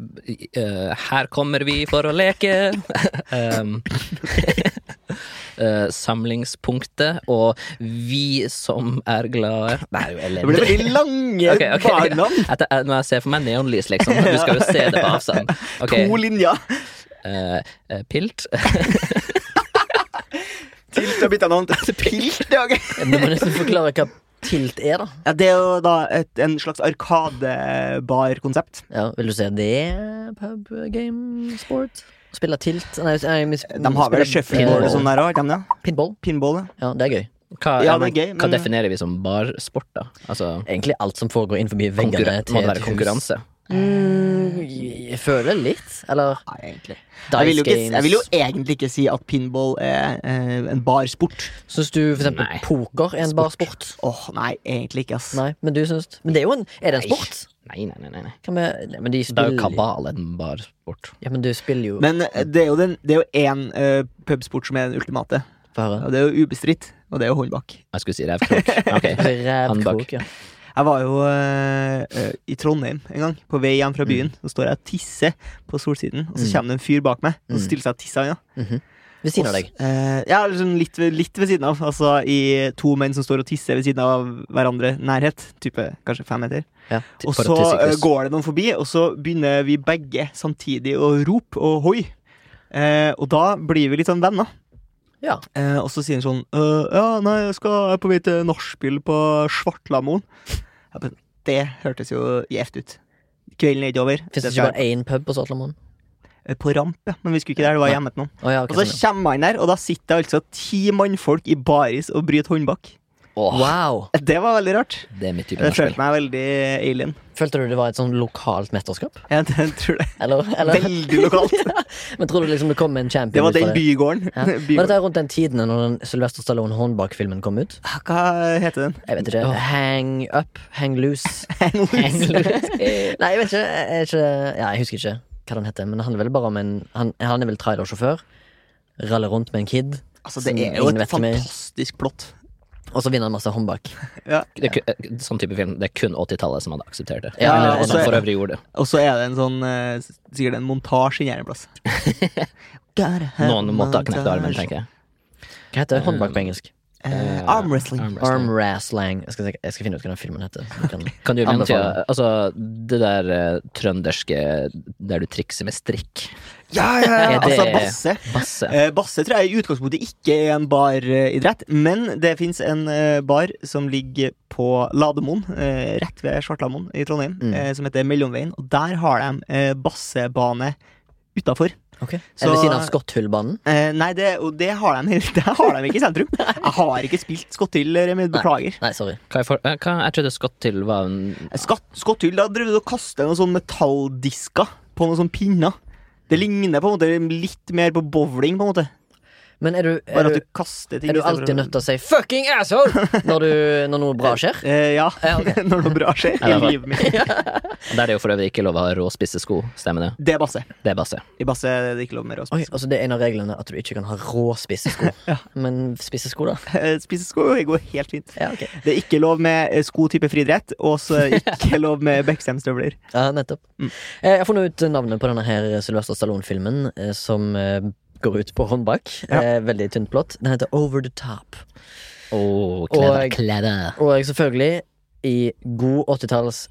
Speaker 3: eh, her kommer vi for å leke. um, eh, samlingspunktet og vi som er glade Nei, jeg
Speaker 1: Det blir
Speaker 3: ler.
Speaker 1: veldig lange
Speaker 3: Ok, ok.
Speaker 1: barnavn.
Speaker 3: Etter, eh, når jeg ser for meg neonlys, liksom. Du skal jo se det på avstand. Ok,
Speaker 1: To linjer.
Speaker 3: eh, eh, pilt.
Speaker 1: Tilt har bytta navn til Pilt. Ja, ok.
Speaker 2: Du må nesten forklare hva tilt er, da.
Speaker 1: ja, det er jo da et, en slags arkadebarkonsept.
Speaker 2: Ja, vil du se det? Pub, game, sport? Spille tilt? Nei, nei mis,
Speaker 1: De har vel
Speaker 2: spille
Speaker 1: shuffleboard og
Speaker 2: pinball.
Speaker 1: sånn der òg, ikke de?
Speaker 2: Pinball?
Speaker 1: Pinball, ja.
Speaker 2: Ja, det er gøy.
Speaker 3: Hva,
Speaker 1: Ja,
Speaker 3: ja, men,
Speaker 1: det er gøy,
Speaker 3: hva
Speaker 1: men-
Speaker 3: definerer vi som barsport, da? Altså
Speaker 2: Egentlig alt som foregår innenfor veggene
Speaker 3: konkurran-
Speaker 2: til
Speaker 3: Må det
Speaker 2: et
Speaker 3: være
Speaker 2: hus.
Speaker 3: konkurranse?
Speaker 2: Mm, jeg føler litt. Eller
Speaker 1: Nei, egentlig.
Speaker 2: dice
Speaker 1: Jeg vil, jo ikke,
Speaker 2: games.
Speaker 1: jeg vil jo egentlig ikke si at pinball er eh, en barsport.
Speaker 2: Syns du for eksempel
Speaker 3: Nei.
Speaker 2: poker er en barsport?
Speaker 1: Åh, nei, egentlig ikke, ass.
Speaker 2: Nei, men du syns Men det er jo en Er det en sport?
Speaker 3: Nei, nei, nei. nei, nei.
Speaker 2: Kan vi nei, Men de
Speaker 3: Det er jo
Speaker 2: spiller
Speaker 3: kabal en barsport.
Speaker 2: Ja, men du spiller jo
Speaker 1: Men eh, det er jo den- det er jo én eh, pubsport som er den ultimate,
Speaker 2: Få høre.
Speaker 1: og det er jo ubestridt. Og det er jo håndbak.
Speaker 3: Jeg skulle si revkrok. Ok.
Speaker 2: Rævkrok,
Speaker 3: Håndbak.
Speaker 2: ja.
Speaker 1: Jeg var jo eh, eh, i Trondheim en gang, på vei hjem fra byen. Så står jeg og tisser på solsiden, og så
Speaker 2: Mm.
Speaker 1: kommer det en fyr bak meg. Og
Speaker 2: Mm.
Speaker 1: så stiller seg og tisser han, ja.
Speaker 2: Ved siden av deg.
Speaker 1: Eh, ja, eller sånn litt, ved- litt ved siden av. Altså i to menn som står og tisser ved siden av hverandre. Nærhet. Type kanskje fem meter.
Speaker 2: Ja,
Speaker 1: og
Speaker 3: for å
Speaker 1: så
Speaker 3: tisse i kryss.
Speaker 1: eh, går det noen forbi, og så begynner vi begge samtidig å rope og hoi. Eh, og da blir vi litt sånn venner.
Speaker 2: Ja.
Speaker 1: Eh, og så sier han sånn «Øh, Ja, nei, jeg, skal, jeg er på vei til nachspiel på Svartlamoen. Jeg bare, Det hørtes jo gjevt ut. Kvelden er ikke over.
Speaker 2: Fins det
Speaker 1: Det
Speaker 2: ikke
Speaker 1: skal,
Speaker 2: bare én pub på Svartlamoen?
Speaker 1: være eh, på ramp, ja. Men vi skulle ikke der, det var hjemme til noen.
Speaker 2: Å ja, ok,
Speaker 1: Og så
Speaker 2: sånn, ja.
Speaker 1: kommer han der, og da sitter det altså ti mannfolk i baris og bryter håndbak.
Speaker 3: Åh,
Speaker 2: Wow!
Speaker 1: Det var veldig rart.
Speaker 3: det er mitt type
Speaker 1: Jeg
Speaker 3: nachspiel.
Speaker 1: følte meg veldig alien.
Speaker 2: Følte du det var et sånn lokalt mesterskap?
Speaker 1: Jeg tror det.
Speaker 2: Eller, eller?
Speaker 1: Veldig lokalt.
Speaker 2: Men tror du liksom det kom en champion?
Speaker 1: Det var
Speaker 2: ut fra
Speaker 1: den bygården.
Speaker 2: Ja. Var dette
Speaker 1: bygården.
Speaker 2: rundt den tiden når den Sylvester Stallone Hornbach-filmen kom ut?
Speaker 1: Hva heter den?
Speaker 2: Jeg vet ikke. Hang up? Hang loose? Hang loose. Nei, jeg vet ikke. Jeg, er ikke. Ja, jeg husker ikke hva den heter. Men det handler vel bare om en Han, han er vel trailersjåfør. Raller rundt med en kid,
Speaker 1: Altså,
Speaker 2: Som
Speaker 1: det er jo
Speaker 2: ingen
Speaker 1: et
Speaker 2: vet hvem er.
Speaker 1: fantastisk plott.
Speaker 2: og så vinner han masse håndbak.
Speaker 3: Det er, ku- eh, sånn type film. Det er kun 80-tallet som hadde akseptert det.
Speaker 2: Ja, altså,
Speaker 3: Eller
Speaker 2: og
Speaker 3: som
Speaker 2: så-
Speaker 3: for øvrig gjorde det.
Speaker 1: Og så er det en sånn eh, s- sikkert en montasje inni her en plass. Gotta have
Speaker 3: Noen måtte ha knekt armen,
Speaker 1: montage.
Speaker 3: tenker jeg.
Speaker 2: Hva heter håndbak på engelsk?
Speaker 1: Eh, arm wrestling.
Speaker 3: Arm wrestling.
Speaker 2: Arm wrestling. Jeg skal, se- jeg skal finne ut hva den filmen heter. så jeg Kan...
Speaker 3: Kan du
Speaker 2: Anbefaler.
Speaker 3: anbefale Altså, det der eh, trønderske der du trikser med strikk.
Speaker 1: Ja, ja, ja.
Speaker 3: Er det-
Speaker 1: Altså, basse.
Speaker 3: Basse.
Speaker 1: Eh, Basse tror jeg i utgangspunktet ikke er en baridrett, men det fins en eh, bar som ligger på Lademoen, eh, rett ved Svartlamoen i Trondheim,
Speaker 2: Mm.
Speaker 1: eh, som heter Mellomveien. Og der har de eh, bassebane utafor.
Speaker 2: Ok. Er
Speaker 1: Så-
Speaker 2: det ved siden av Skotthullbanen?
Speaker 1: Eh, nei, det, og det har, de, det har de ikke i sentrum. Jeg har ikke spilt Skotthyll, Remi. Beklager.
Speaker 2: Nei, sorry.
Speaker 3: Hva er for, eh, hva, jeg trodde skott til var en
Speaker 1: Skatt, Skotthyll, da drev du og kastet noen sånne metalldisker på noen sånne pinner. Det ligner på en måte litt mer på bowling, på en måte.
Speaker 2: Men er du, er
Speaker 1: Bare
Speaker 2: du,
Speaker 1: at du kaster ting
Speaker 2: er du
Speaker 1: istedenfor
Speaker 2: alltid
Speaker 1: å-
Speaker 2: nødt til å si 'fucking asshole' når, du, når noe bra skjer?
Speaker 1: Eh, ja.
Speaker 2: Ja, ok.
Speaker 1: Når noe bra skjer i
Speaker 3: Ja, det var-
Speaker 1: livet mitt.
Speaker 3: Der er det jo for øvrig ikke lov å ha råspisse sko, stemmer det?
Speaker 1: Det er basse.
Speaker 3: Det er basse.
Speaker 1: I basse er det ikke lov mer å
Speaker 2: Oi,
Speaker 1: spise.
Speaker 2: altså Det er en av reglene at du ikke kan ha rå spissesko. Men spissesko, da?
Speaker 1: Eh, Spise sko det går helt fint.
Speaker 2: Ja, ok.
Speaker 1: Det er ikke lov med eh, sko type friidrett, og så er det ikke lov med Beckham-støvler.
Speaker 2: Ja, nettopp.
Speaker 1: Mm.
Speaker 2: Eh, Jeg har funnet ut navnet på denne her Sylvester Stallone-filmen eh, som eh, går ut på håndbak.
Speaker 1: Ja.
Speaker 2: Eh, Veldig tynt plott. Den heter Over the Top.
Speaker 3: Åh, kleder,
Speaker 2: Og-
Speaker 3: kleder.
Speaker 2: Og jeg selvfølgelig, i god 80-talls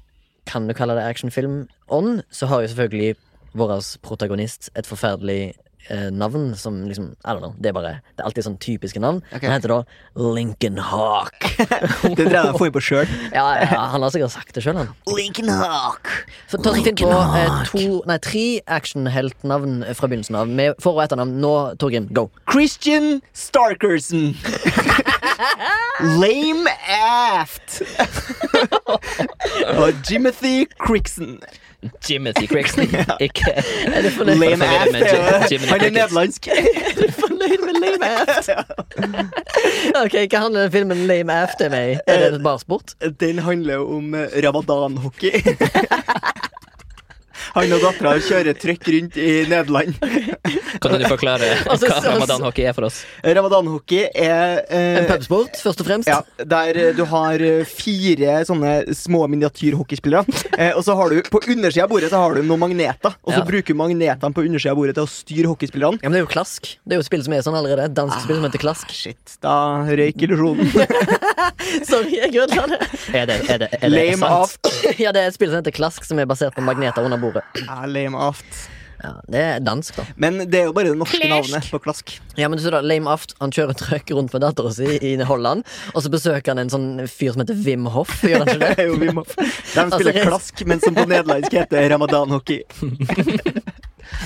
Speaker 2: kan du kalle det actionfilm-ånd, så har jo selvfølgelig vår protagonist et forferdelig eh, navn som liksom I don't know. Det er bare Det er alltid sånn typiske navn. Han heter da Lincoln Hawk.
Speaker 1: Det tror jeg de får på sjøl.
Speaker 2: Ja, ja, han har sikkert sagt det sjøl, han.
Speaker 1: Lincoln Hawk.
Speaker 2: Så ta oss inn på eh, to, nei, tre actionheltnavn eh, fra begynnelsen av. Med for- og etternavn. Nå, Torgrim, go.
Speaker 1: Christian Starkerson. Lame Aft. og Jimothy Crixon.
Speaker 3: Jimothy Crixton. Ikke Er det
Speaker 1: Lame Aft.
Speaker 3: med Jim-
Speaker 1: er-
Speaker 3: Jiminy
Speaker 1: Han er
Speaker 3: Cricket?
Speaker 1: nederlandsk.
Speaker 2: Fornøyd med Lame Aft. ok, Hva handler den filmen Lame Aft er med i?
Speaker 1: Eh,
Speaker 2: Er det bare sport?
Speaker 1: Den handler jo om eh, ramadan-hockey. Han og dattera kjører trøkk rundt i Nederland.
Speaker 3: Kan du forklare
Speaker 2: Altså,
Speaker 3: hva
Speaker 2: så-
Speaker 3: ramadan-hockey er for oss?
Speaker 1: Ramadan-hockey er
Speaker 2: En
Speaker 1: eh,
Speaker 2: pubsport, først og fremst.
Speaker 1: ja, Der eh, du har eh, fire sånne små miniatyrhockeyspillere. Eh, og så har du på undersida av bordet så har du noen magneter. Og så
Speaker 2: Ja.
Speaker 1: bruker magnetene på undersida av bordet til å styre hockeyspillerne.
Speaker 2: Ja, men Det er jo klask. Det er jo et spill som er sånn allerede. Et dansk spill som heter klask.
Speaker 1: Shit, da røyk illusjonen.
Speaker 2: Sorry, jeg ødela det.
Speaker 3: Er det, er det, er det
Speaker 1: Lame
Speaker 3: sant?
Speaker 1: aft.
Speaker 2: Ja, det er et spill som heter klask, som er basert på magneter under bordet.
Speaker 1: Ja, lame aft.
Speaker 2: Ja, Det er dansk, da.
Speaker 1: Men det er jo bare det norske
Speaker 6: Klask.
Speaker 1: navnet på klask.
Speaker 2: Ja, men du ser da, Lame Aft han kjører trøkk rundt med dattera si i Holland, og så besøker han en sånn fyr som heter Wim Hoff. Gjør han ikke det?
Speaker 1: jo, vi må. De spiller
Speaker 2: det-
Speaker 1: klask, men som på nederlandsk heter ramadan-hockey.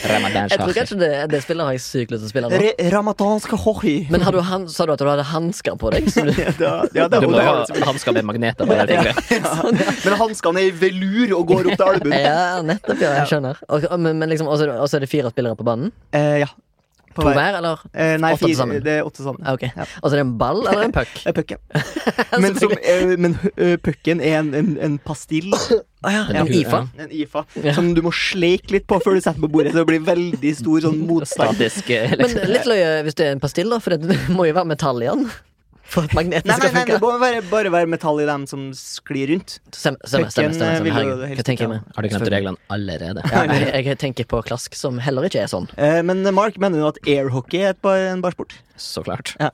Speaker 3: Ramadan
Speaker 2: Jeg tror
Speaker 3: shaker.
Speaker 2: kanskje det, det spillet har jeg sykt lyst til å spille nå.
Speaker 1: Re- Ramadansk hockey.
Speaker 2: Men har du han, sa du at du hadde hansker på deg? Som du,
Speaker 1: Ja, da- ja, da-
Speaker 3: Du må
Speaker 1: da
Speaker 3: jo
Speaker 1: har du
Speaker 3: ha hansker med magneter på alle fingrene.
Speaker 1: Men hanskene er i velur og går opp til albuen.
Speaker 2: ja, nettopp. ja, jeg skjønner. Og men, men liksom, og så er det- og så er det fire spillere på banen?
Speaker 1: Eh, ja. På
Speaker 2: To
Speaker 1: hver.
Speaker 2: hver, eller?
Speaker 1: Eh, nei,
Speaker 2: Åtte til
Speaker 1: fire,
Speaker 2: sammen.
Speaker 1: det er åtte sammen.
Speaker 2: Ah, Ok. Og så er det en ball eller en puck?
Speaker 1: Det er pucken. Men, som, eh, men eh, pucken er en, en, en pastill,
Speaker 2: Å Ah, ja,
Speaker 3: En
Speaker 2: en
Speaker 3: hue,
Speaker 2: IFA.
Speaker 1: en IFA,
Speaker 2: Ja.
Speaker 1: som du må sleike litt på før du setter den på bordet, så det blir veldig stor sånn motstand.
Speaker 3: Statisk eh,
Speaker 2: Men
Speaker 3: liksom.
Speaker 2: litt løye hvis det er en pastill, da, for det må jo være metall i den. For at magneten
Speaker 1: Nei, nei,
Speaker 2: skal
Speaker 1: nei, det
Speaker 2: funke.
Speaker 1: må være, bare være metall i dem som sklir rundt.
Speaker 2: Stem- Stemmer, stemmer.
Speaker 1: Pucken,
Speaker 2: stemmer,
Speaker 1: eh, vil
Speaker 2: stemmer.
Speaker 1: jo
Speaker 2: Herregud,
Speaker 1: helst
Speaker 2: hva tenker jeg med?
Speaker 1: ikke
Speaker 3: Har du glemt reglene allerede?
Speaker 2: Ja, jeg, jeg tenker på klask, som heller ikke er sånn.
Speaker 1: Eh, men Mark mener jo at airhockey er et bar, en barsport.
Speaker 3: Så klart.
Speaker 1: Ja.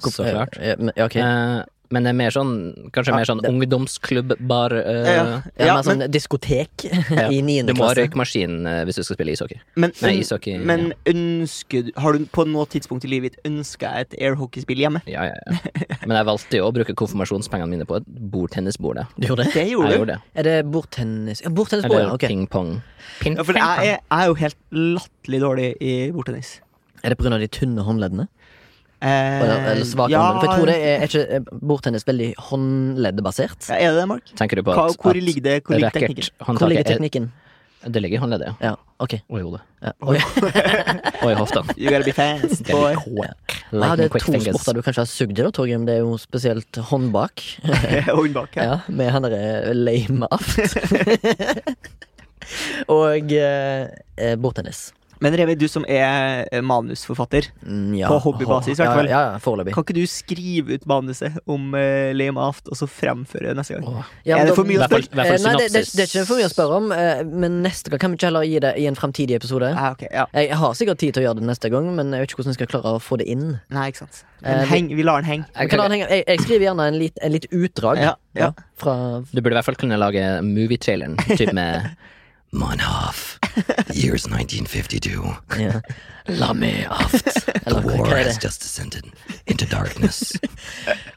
Speaker 3: Så klart.
Speaker 2: Eh, men- Ja, ok.
Speaker 3: Eh, Men det er mer sånn, kanskje mer sånn ungdomsklubb-bar eh,
Speaker 1: Ja.
Speaker 2: Ja,
Speaker 1: Ja,
Speaker 2: men sånn diskotek i niende
Speaker 3: Du må ha
Speaker 2: klasse. Mm.
Speaker 3: røykmaskin eh, hvis du skal spille ishockey.
Speaker 1: Men,
Speaker 3: Nei, ishockey,
Speaker 1: men ønsker du Har du på noe tidspunkt i livet ditt ønska et airhockeyspill hjemme?
Speaker 3: Ja, ja, ja. Men jeg valgte jo å bruke konfirmasjonspengene mine på et bordtennisbord. jeg.
Speaker 2: Du gjorde det?
Speaker 1: Det gjorde
Speaker 3: Jeg
Speaker 1: du.
Speaker 3: gjorde det.
Speaker 2: Er det bordtennis? Ja, bordtennisbord,
Speaker 3: Eller
Speaker 2: ja. ok.
Speaker 3: ping-pong.
Speaker 1: Ja, for jeg, er- jeg er jo helt latterlig dårlig i bordtennis.
Speaker 2: Er det pga. de tynne håndleddene?
Speaker 1: Eh,
Speaker 2: Eller, eller svake
Speaker 1: ja,
Speaker 2: håndledd? For jeg tror det er, er ikke er bordtennis veldig håndleddebasert.
Speaker 1: ja, Er det det, Mark?
Speaker 3: Tenker du på
Speaker 1: Hva,
Speaker 3: at,
Speaker 1: hvor
Speaker 3: at
Speaker 1: ligger det hvor ligger teknikken?
Speaker 3: racket, håndtaket
Speaker 2: Hvor ligger
Speaker 3: er-
Speaker 2: teknikken?
Speaker 3: Det ligger i håndleddet, ja.
Speaker 2: Ja, ok.
Speaker 3: Og i hodet.
Speaker 2: Ja. Oi.
Speaker 3: Og i hofta.
Speaker 1: You gotta be fast,
Speaker 3: Skal
Speaker 1: boy.
Speaker 3: vi kåk?
Speaker 2: Ja, det
Speaker 3: Lightning
Speaker 2: er
Speaker 3: quick
Speaker 2: to
Speaker 3: fingers.
Speaker 2: sporter du kanskje har sugd i, da, Torgrim. Det er jo spesielt håndbak.
Speaker 1: Hånd bak, ja.
Speaker 2: Ja, med han derre lame aft. Og eh, eh, bordtennis.
Speaker 1: Men Remi, du som er eh, manusforfatter,
Speaker 2: Mm, Ja,
Speaker 1: På hobbybasis, i hvert fall.
Speaker 2: Ja, ja, ja, foreløpig.
Speaker 1: kan ikke du skrive ut manuset om eh, Lame Aft, og så fremføre det neste gang?
Speaker 3: Åh.
Speaker 2: Ja,
Speaker 1: er
Speaker 2: men
Speaker 1: det
Speaker 2: da-
Speaker 1: for mye å
Speaker 3: Hvert fall-
Speaker 1: spørre?
Speaker 3: hvert
Speaker 2: Eh,
Speaker 3: fall
Speaker 2: Nei, det, det,
Speaker 3: synopsis.
Speaker 2: det er ikke for mye å spørre om, eh, men neste gang kan vi ikke heller gi det i en fremtidig episode.
Speaker 1: Ah, ok, ja.
Speaker 2: Jeg jeg har sikkert tid til å gjøre det neste gang, men jeg vet ikke hvordan jeg skal klare å få det inn.
Speaker 1: Nei, ikke sant.
Speaker 2: Eh,
Speaker 1: Men heng, vi lar den henge.
Speaker 2: Men kan han henge? Jeg, jeg skriver gjerne en lit, en litt utdrag.
Speaker 1: Ja, ja.
Speaker 2: fra
Speaker 3: Du burde i hvert fall kunne lage movietraileren, typ med Monhoff, years 1952.
Speaker 2: ja.
Speaker 3: La meg aft.
Speaker 2: Eller hva hva er det?
Speaker 3: just descended into darkness.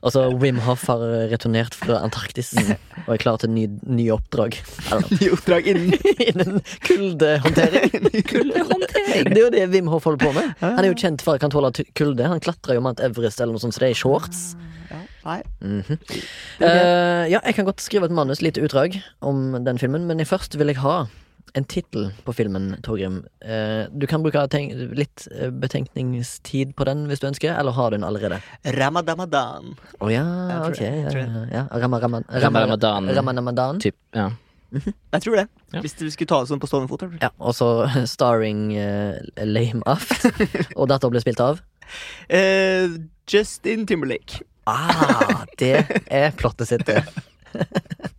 Speaker 2: Og så Wim Hoff har returnert fra Antarktis og er klar til ny, ny oppdrag. Eller,
Speaker 1: Gi oppdrag innen
Speaker 2: Innen kuldehåndtering. kuldehåndtering. Ah. Det er jo det Wim Hoff holder på med. Han er jo kjent for at han kan tåle t- kulde. Han klatrer jo Mount Everest eller noe sånt, så det er i shorts.
Speaker 1: Nei.
Speaker 2: Eh, ja, jeg kan godt skrive et manus, lite utdrag, om den filmen, men først vil jeg ha en tittel på filmen, Torgrim. Eh, du kan bruke tenk litt eh, betenkningstid på den hvis du ønsker, eller har du den allerede?
Speaker 1: Ramadamadan.
Speaker 2: Å ja,
Speaker 1: Jeg
Speaker 2: ok.
Speaker 1: tror- jeg
Speaker 2: Ja,
Speaker 1: tror det.
Speaker 2: ja, ja. Rama, rama,
Speaker 3: Rama
Speaker 2: rama,
Speaker 3: Ramadan.
Speaker 2: Rama Ramadan.
Speaker 3: Typ, ja.
Speaker 1: Jeg tror det.
Speaker 3: Ja.
Speaker 1: Hvis du skulle ta det sånn på stående fot. eller?
Speaker 2: Ja, og så starring eh, Lame Aft. og datter ble spilt av
Speaker 1: Eh, Justin Timberlake.
Speaker 2: Ah, det er plottet sitt. det.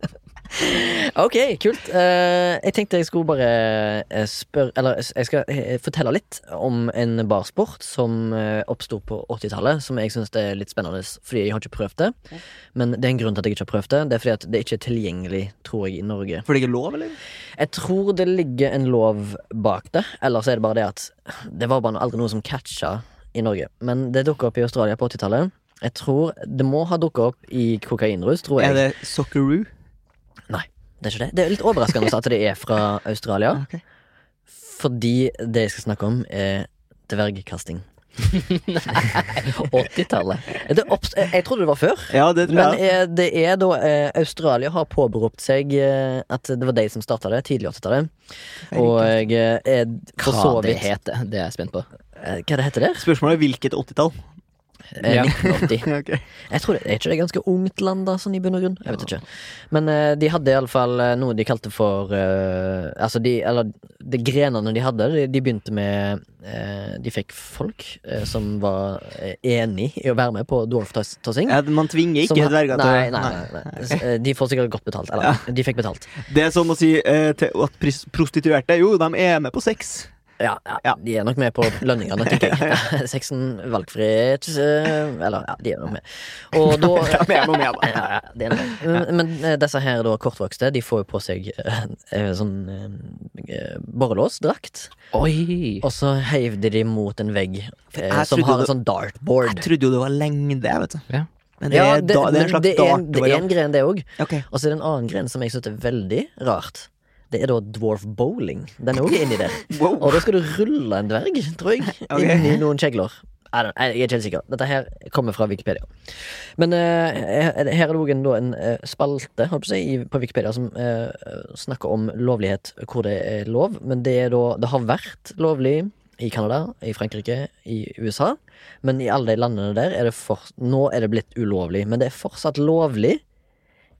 Speaker 2: Ok, kult. Eh, jeg tenkte jeg skulle bare eh, spørre Eller s- jeg skal eh, fortelle litt om en barsport som eh, oppsto på 80-tallet, som jeg syns er litt spennende, fordi jeg har ikke prøvd det. Men det er en grunn til at jeg ikke har prøvd det. Det er fordi at det ikke er tilgjengelig, tror jeg, i Norge.
Speaker 1: For det er ikke lov, eller?
Speaker 2: Jeg tror det ligger en lov bak det. Eller så er det bare det at det var bare aldri noe som catcha i Norge. Men det dukka opp i Australia på 80-tallet. Jeg tror Det må ha dukka opp i kokainrus, tror jeg.
Speaker 1: Er det Socceroo?
Speaker 2: Nei, det er ikke det. Det er litt overraskende at det er fra Australia.
Speaker 1: Ok.
Speaker 2: Fordi det jeg skal snakke om, er dvergkasting. 80-tallet. Det oppst- Jeg jeg trodde det var før.
Speaker 1: Ja, det tror
Speaker 2: Men
Speaker 1: jeg.
Speaker 2: eh, det er da eh, Australia har påberopt seg eh, at det var de som starta det, tidlig 80-tallet. Og eh, er for så
Speaker 3: Hva det
Speaker 2: vidt
Speaker 3: heter, det er jeg spent på.
Speaker 2: Eh, Hva det heter det?
Speaker 1: Spørsmålet er hvilket 80-tall.
Speaker 2: Eh,
Speaker 3: Ja.
Speaker 2: 1980.
Speaker 1: Okay.
Speaker 2: Jeg tror det, Er ikke det ganske ungt land, da, sånn i bunn og grunn? Jeg vet ikke. Men eh, de hadde iallfall noe de kalte for eh, Altså, de Eller de grenene de hadde, de, de begynte med eh, De fikk folk eh, som var eh, enig i å være med på dwarf-tossing.
Speaker 1: Ja, man tvinger ikke
Speaker 2: Som ha-
Speaker 1: dverger til
Speaker 2: Nei, nei, nei, nei. S- eh, De får sikkert godt betalt. Eller, de fikk betalt.
Speaker 1: Det er som å si eh, til, at pris- prostituerte Jo, de er med på sex.
Speaker 2: Ja,
Speaker 1: Ja.
Speaker 2: De er nok med på lønningene, tenker jeg. Sexen valgfrihet eh, Eller, ja, de er nok med. Og da
Speaker 1: De er noe med, da.
Speaker 2: ja, ja, det er nok. Men, men eh, disse her da kortvokste, de får jo på seg eh, eh, sånn eh, borrelåsdrakt.
Speaker 3: Oi!
Speaker 2: Og så heiv de de mot en vegg eh,
Speaker 1: jeg
Speaker 2: som
Speaker 1: trodde
Speaker 2: har en
Speaker 1: det-
Speaker 2: sånn dartboard.
Speaker 1: Jeg trodde jo det var lengde, jeg, vet du.
Speaker 3: Ja.
Speaker 1: Men det, er da, det er en
Speaker 2: men
Speaker 1: slags
Speaker 2: det er en- det er en
Speaker 1: dartvariant.
Speaker 2: gren, det òg.
Speaker 1: Ok.
Speaker 2: Og så er det en annen gren som jeg synes er veldig rart. Det er da dwarf bowling. Den er også inni der.
Speaker 1: Wow.
Speaker 2: Og da skal du rulle en dverg, tror jeg,
Speaker 1: Ok.
Speaker 2: inni noen kjegler. I don't- Jeg er ikke helt sikker. Dette her kommer fra Wikipedia. Men eh, her- her er det òg en, da en eh, spalte holdt på, å si, i- på Wikipedia som eh, snakker om lovlighet hvor det er lov. Men det, er da, det har vært lovlig i Canada, i Frankrike, i USA. Men i alle de landene der er det for, Nå er det blitt ulovlig, men det er fortsatt lovlig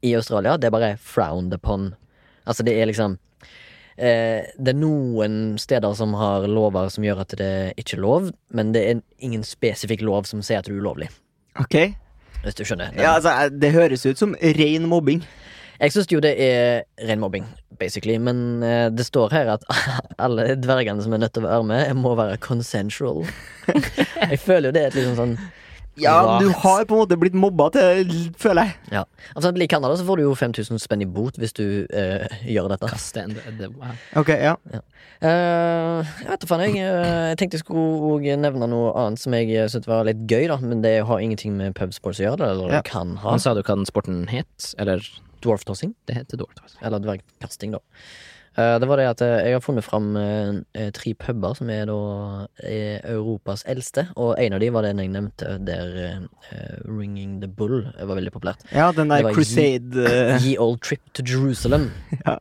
Speaker 2: i Australia. Det er bare frowned upon. Altså, det er liksom eh, Det er noen steder som har lover som gjør at det ikke er lov, men det er ingen spesifikk lov som sier at det er ulovlig.
Speaker 1: Ok.
Speaker 2: Hvis du skjønner.
Speaker 1: Ja, altså, eh, det høres ut som ren mobbing.
Speaker 2: Jeg syns jo det er ren mobbing, basically, men eh, det står her at alle dvergene som er nødt til å være med, må være consensual. Jeg føler jo det er et liksom sånn
Speaker 1: Ja, men du
Speaker 2: rart-
Speaker 1: har på en måte blitt mobba til, føler jeg.
Speaker 2: Ja. For eksempel i Canada så får du jo 5000 spenn i bot hvis du eh, gjør dette.
Speaker 3: Kaste en det, wow.
Speaker 1: Ok, ja.
Speaker 2: Eh, jeg vet da faen, jeg. eh, jeg tenkte jeg skulle også nevne noe annet som jeg eh, syntes var litt gøy, da. Men det har ingenting med pubsports å gjøre, det, eller
Speaker 1: Ja.
Speaker 2: det kan ha.
Speaker 3: Han sa du hva den sporten het? Eller
Speaker 2: Dwarftossing.
Speaker 3: det heter dårlig. altså.
Speaker 2: Eller dvergkasting, da. Eh, Det var det at eh, jeg har funnet fram eh, eh, tre puber som er da eh, Europas eldste, og en av de var den jeg nevnte, der eh, Ringing the Bull eh, var veldig populært.
Speaker 1: Ja, den
Speaker 2: Det
Speaker 1: der
Speaker 2: var
Speaker 1: crusade eh,
Speaker 2: Ye Old Trip to Jerusalem.
Speaker 1: Ja.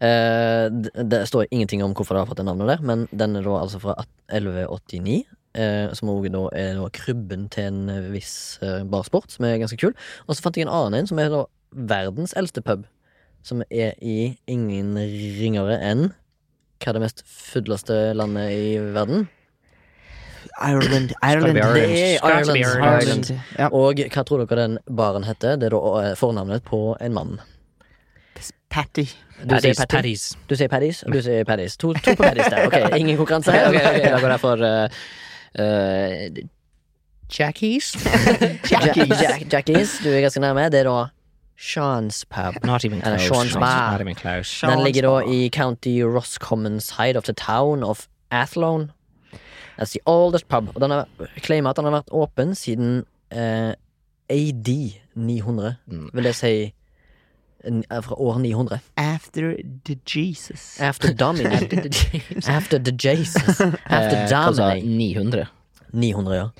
Speaker 2: Eh, d- det står ingenting om hvorfor det har fått det navnet der, men den er da altså fra at- 1189. eh, som også da er da krybben til en viss eh, barsport, som er ganske kul. Og så fant jeg en annen en, som er da verdens eldste pub. Som er i ingen ringere enn hva er det mest fulleste landet i verden?
Speaker 1: Ireland, Ireland.
Speaker 3: Skal vi
Speaker 2: Det er
Speaker 1: Det
Speaker 3: Ireland?
Speaker 6: Skal
Speaker 2: Ireland.
Speaker 6: det bli
Speaker 1: er
Speaker 6: Ireland?
Speaker 2: Ireland.
Speaker 1: Ireland. Ja.
Speaker 2: Og hva tror dere den baren heter? Det er da eh, fornavnet på en mann.
Speaker 1: Patty.
Speaker 2: Du sier Patty? Du sier Paddis, og du sier Paddis. To, to på Paddis der. Ok, ingen konkurranse her.
Speaker 3: Ok, ok, da går jeg for eh, eh, Jackies?
Speaker 2: Jackies. Jack, Jackies, du er ganske nærme. Det er da Sean's pub.
Speaker 3: Not even
Speaker 2: Eller
Speaker 3: close.
Speaker 2: Sean's Bar.
Speaker 3: Not even close.
Speaker 2: Den ligger da i County Roscommon side of the town of Athlone. That's the oldest pub. Og den har claimer at den har vært åpen siden eh, AD 900.
Speaker 3: Mm.
Speaker 2: Vil det si en- eh, fra år 900.
Speaker 1: After the Jesus.
Speaker 2: After Domini. After the Jesus. After
Speaker 3: Eh, altså,
Speaker 2: Domini.
Speaker 3: 900.
Speaker 2: 900, ja.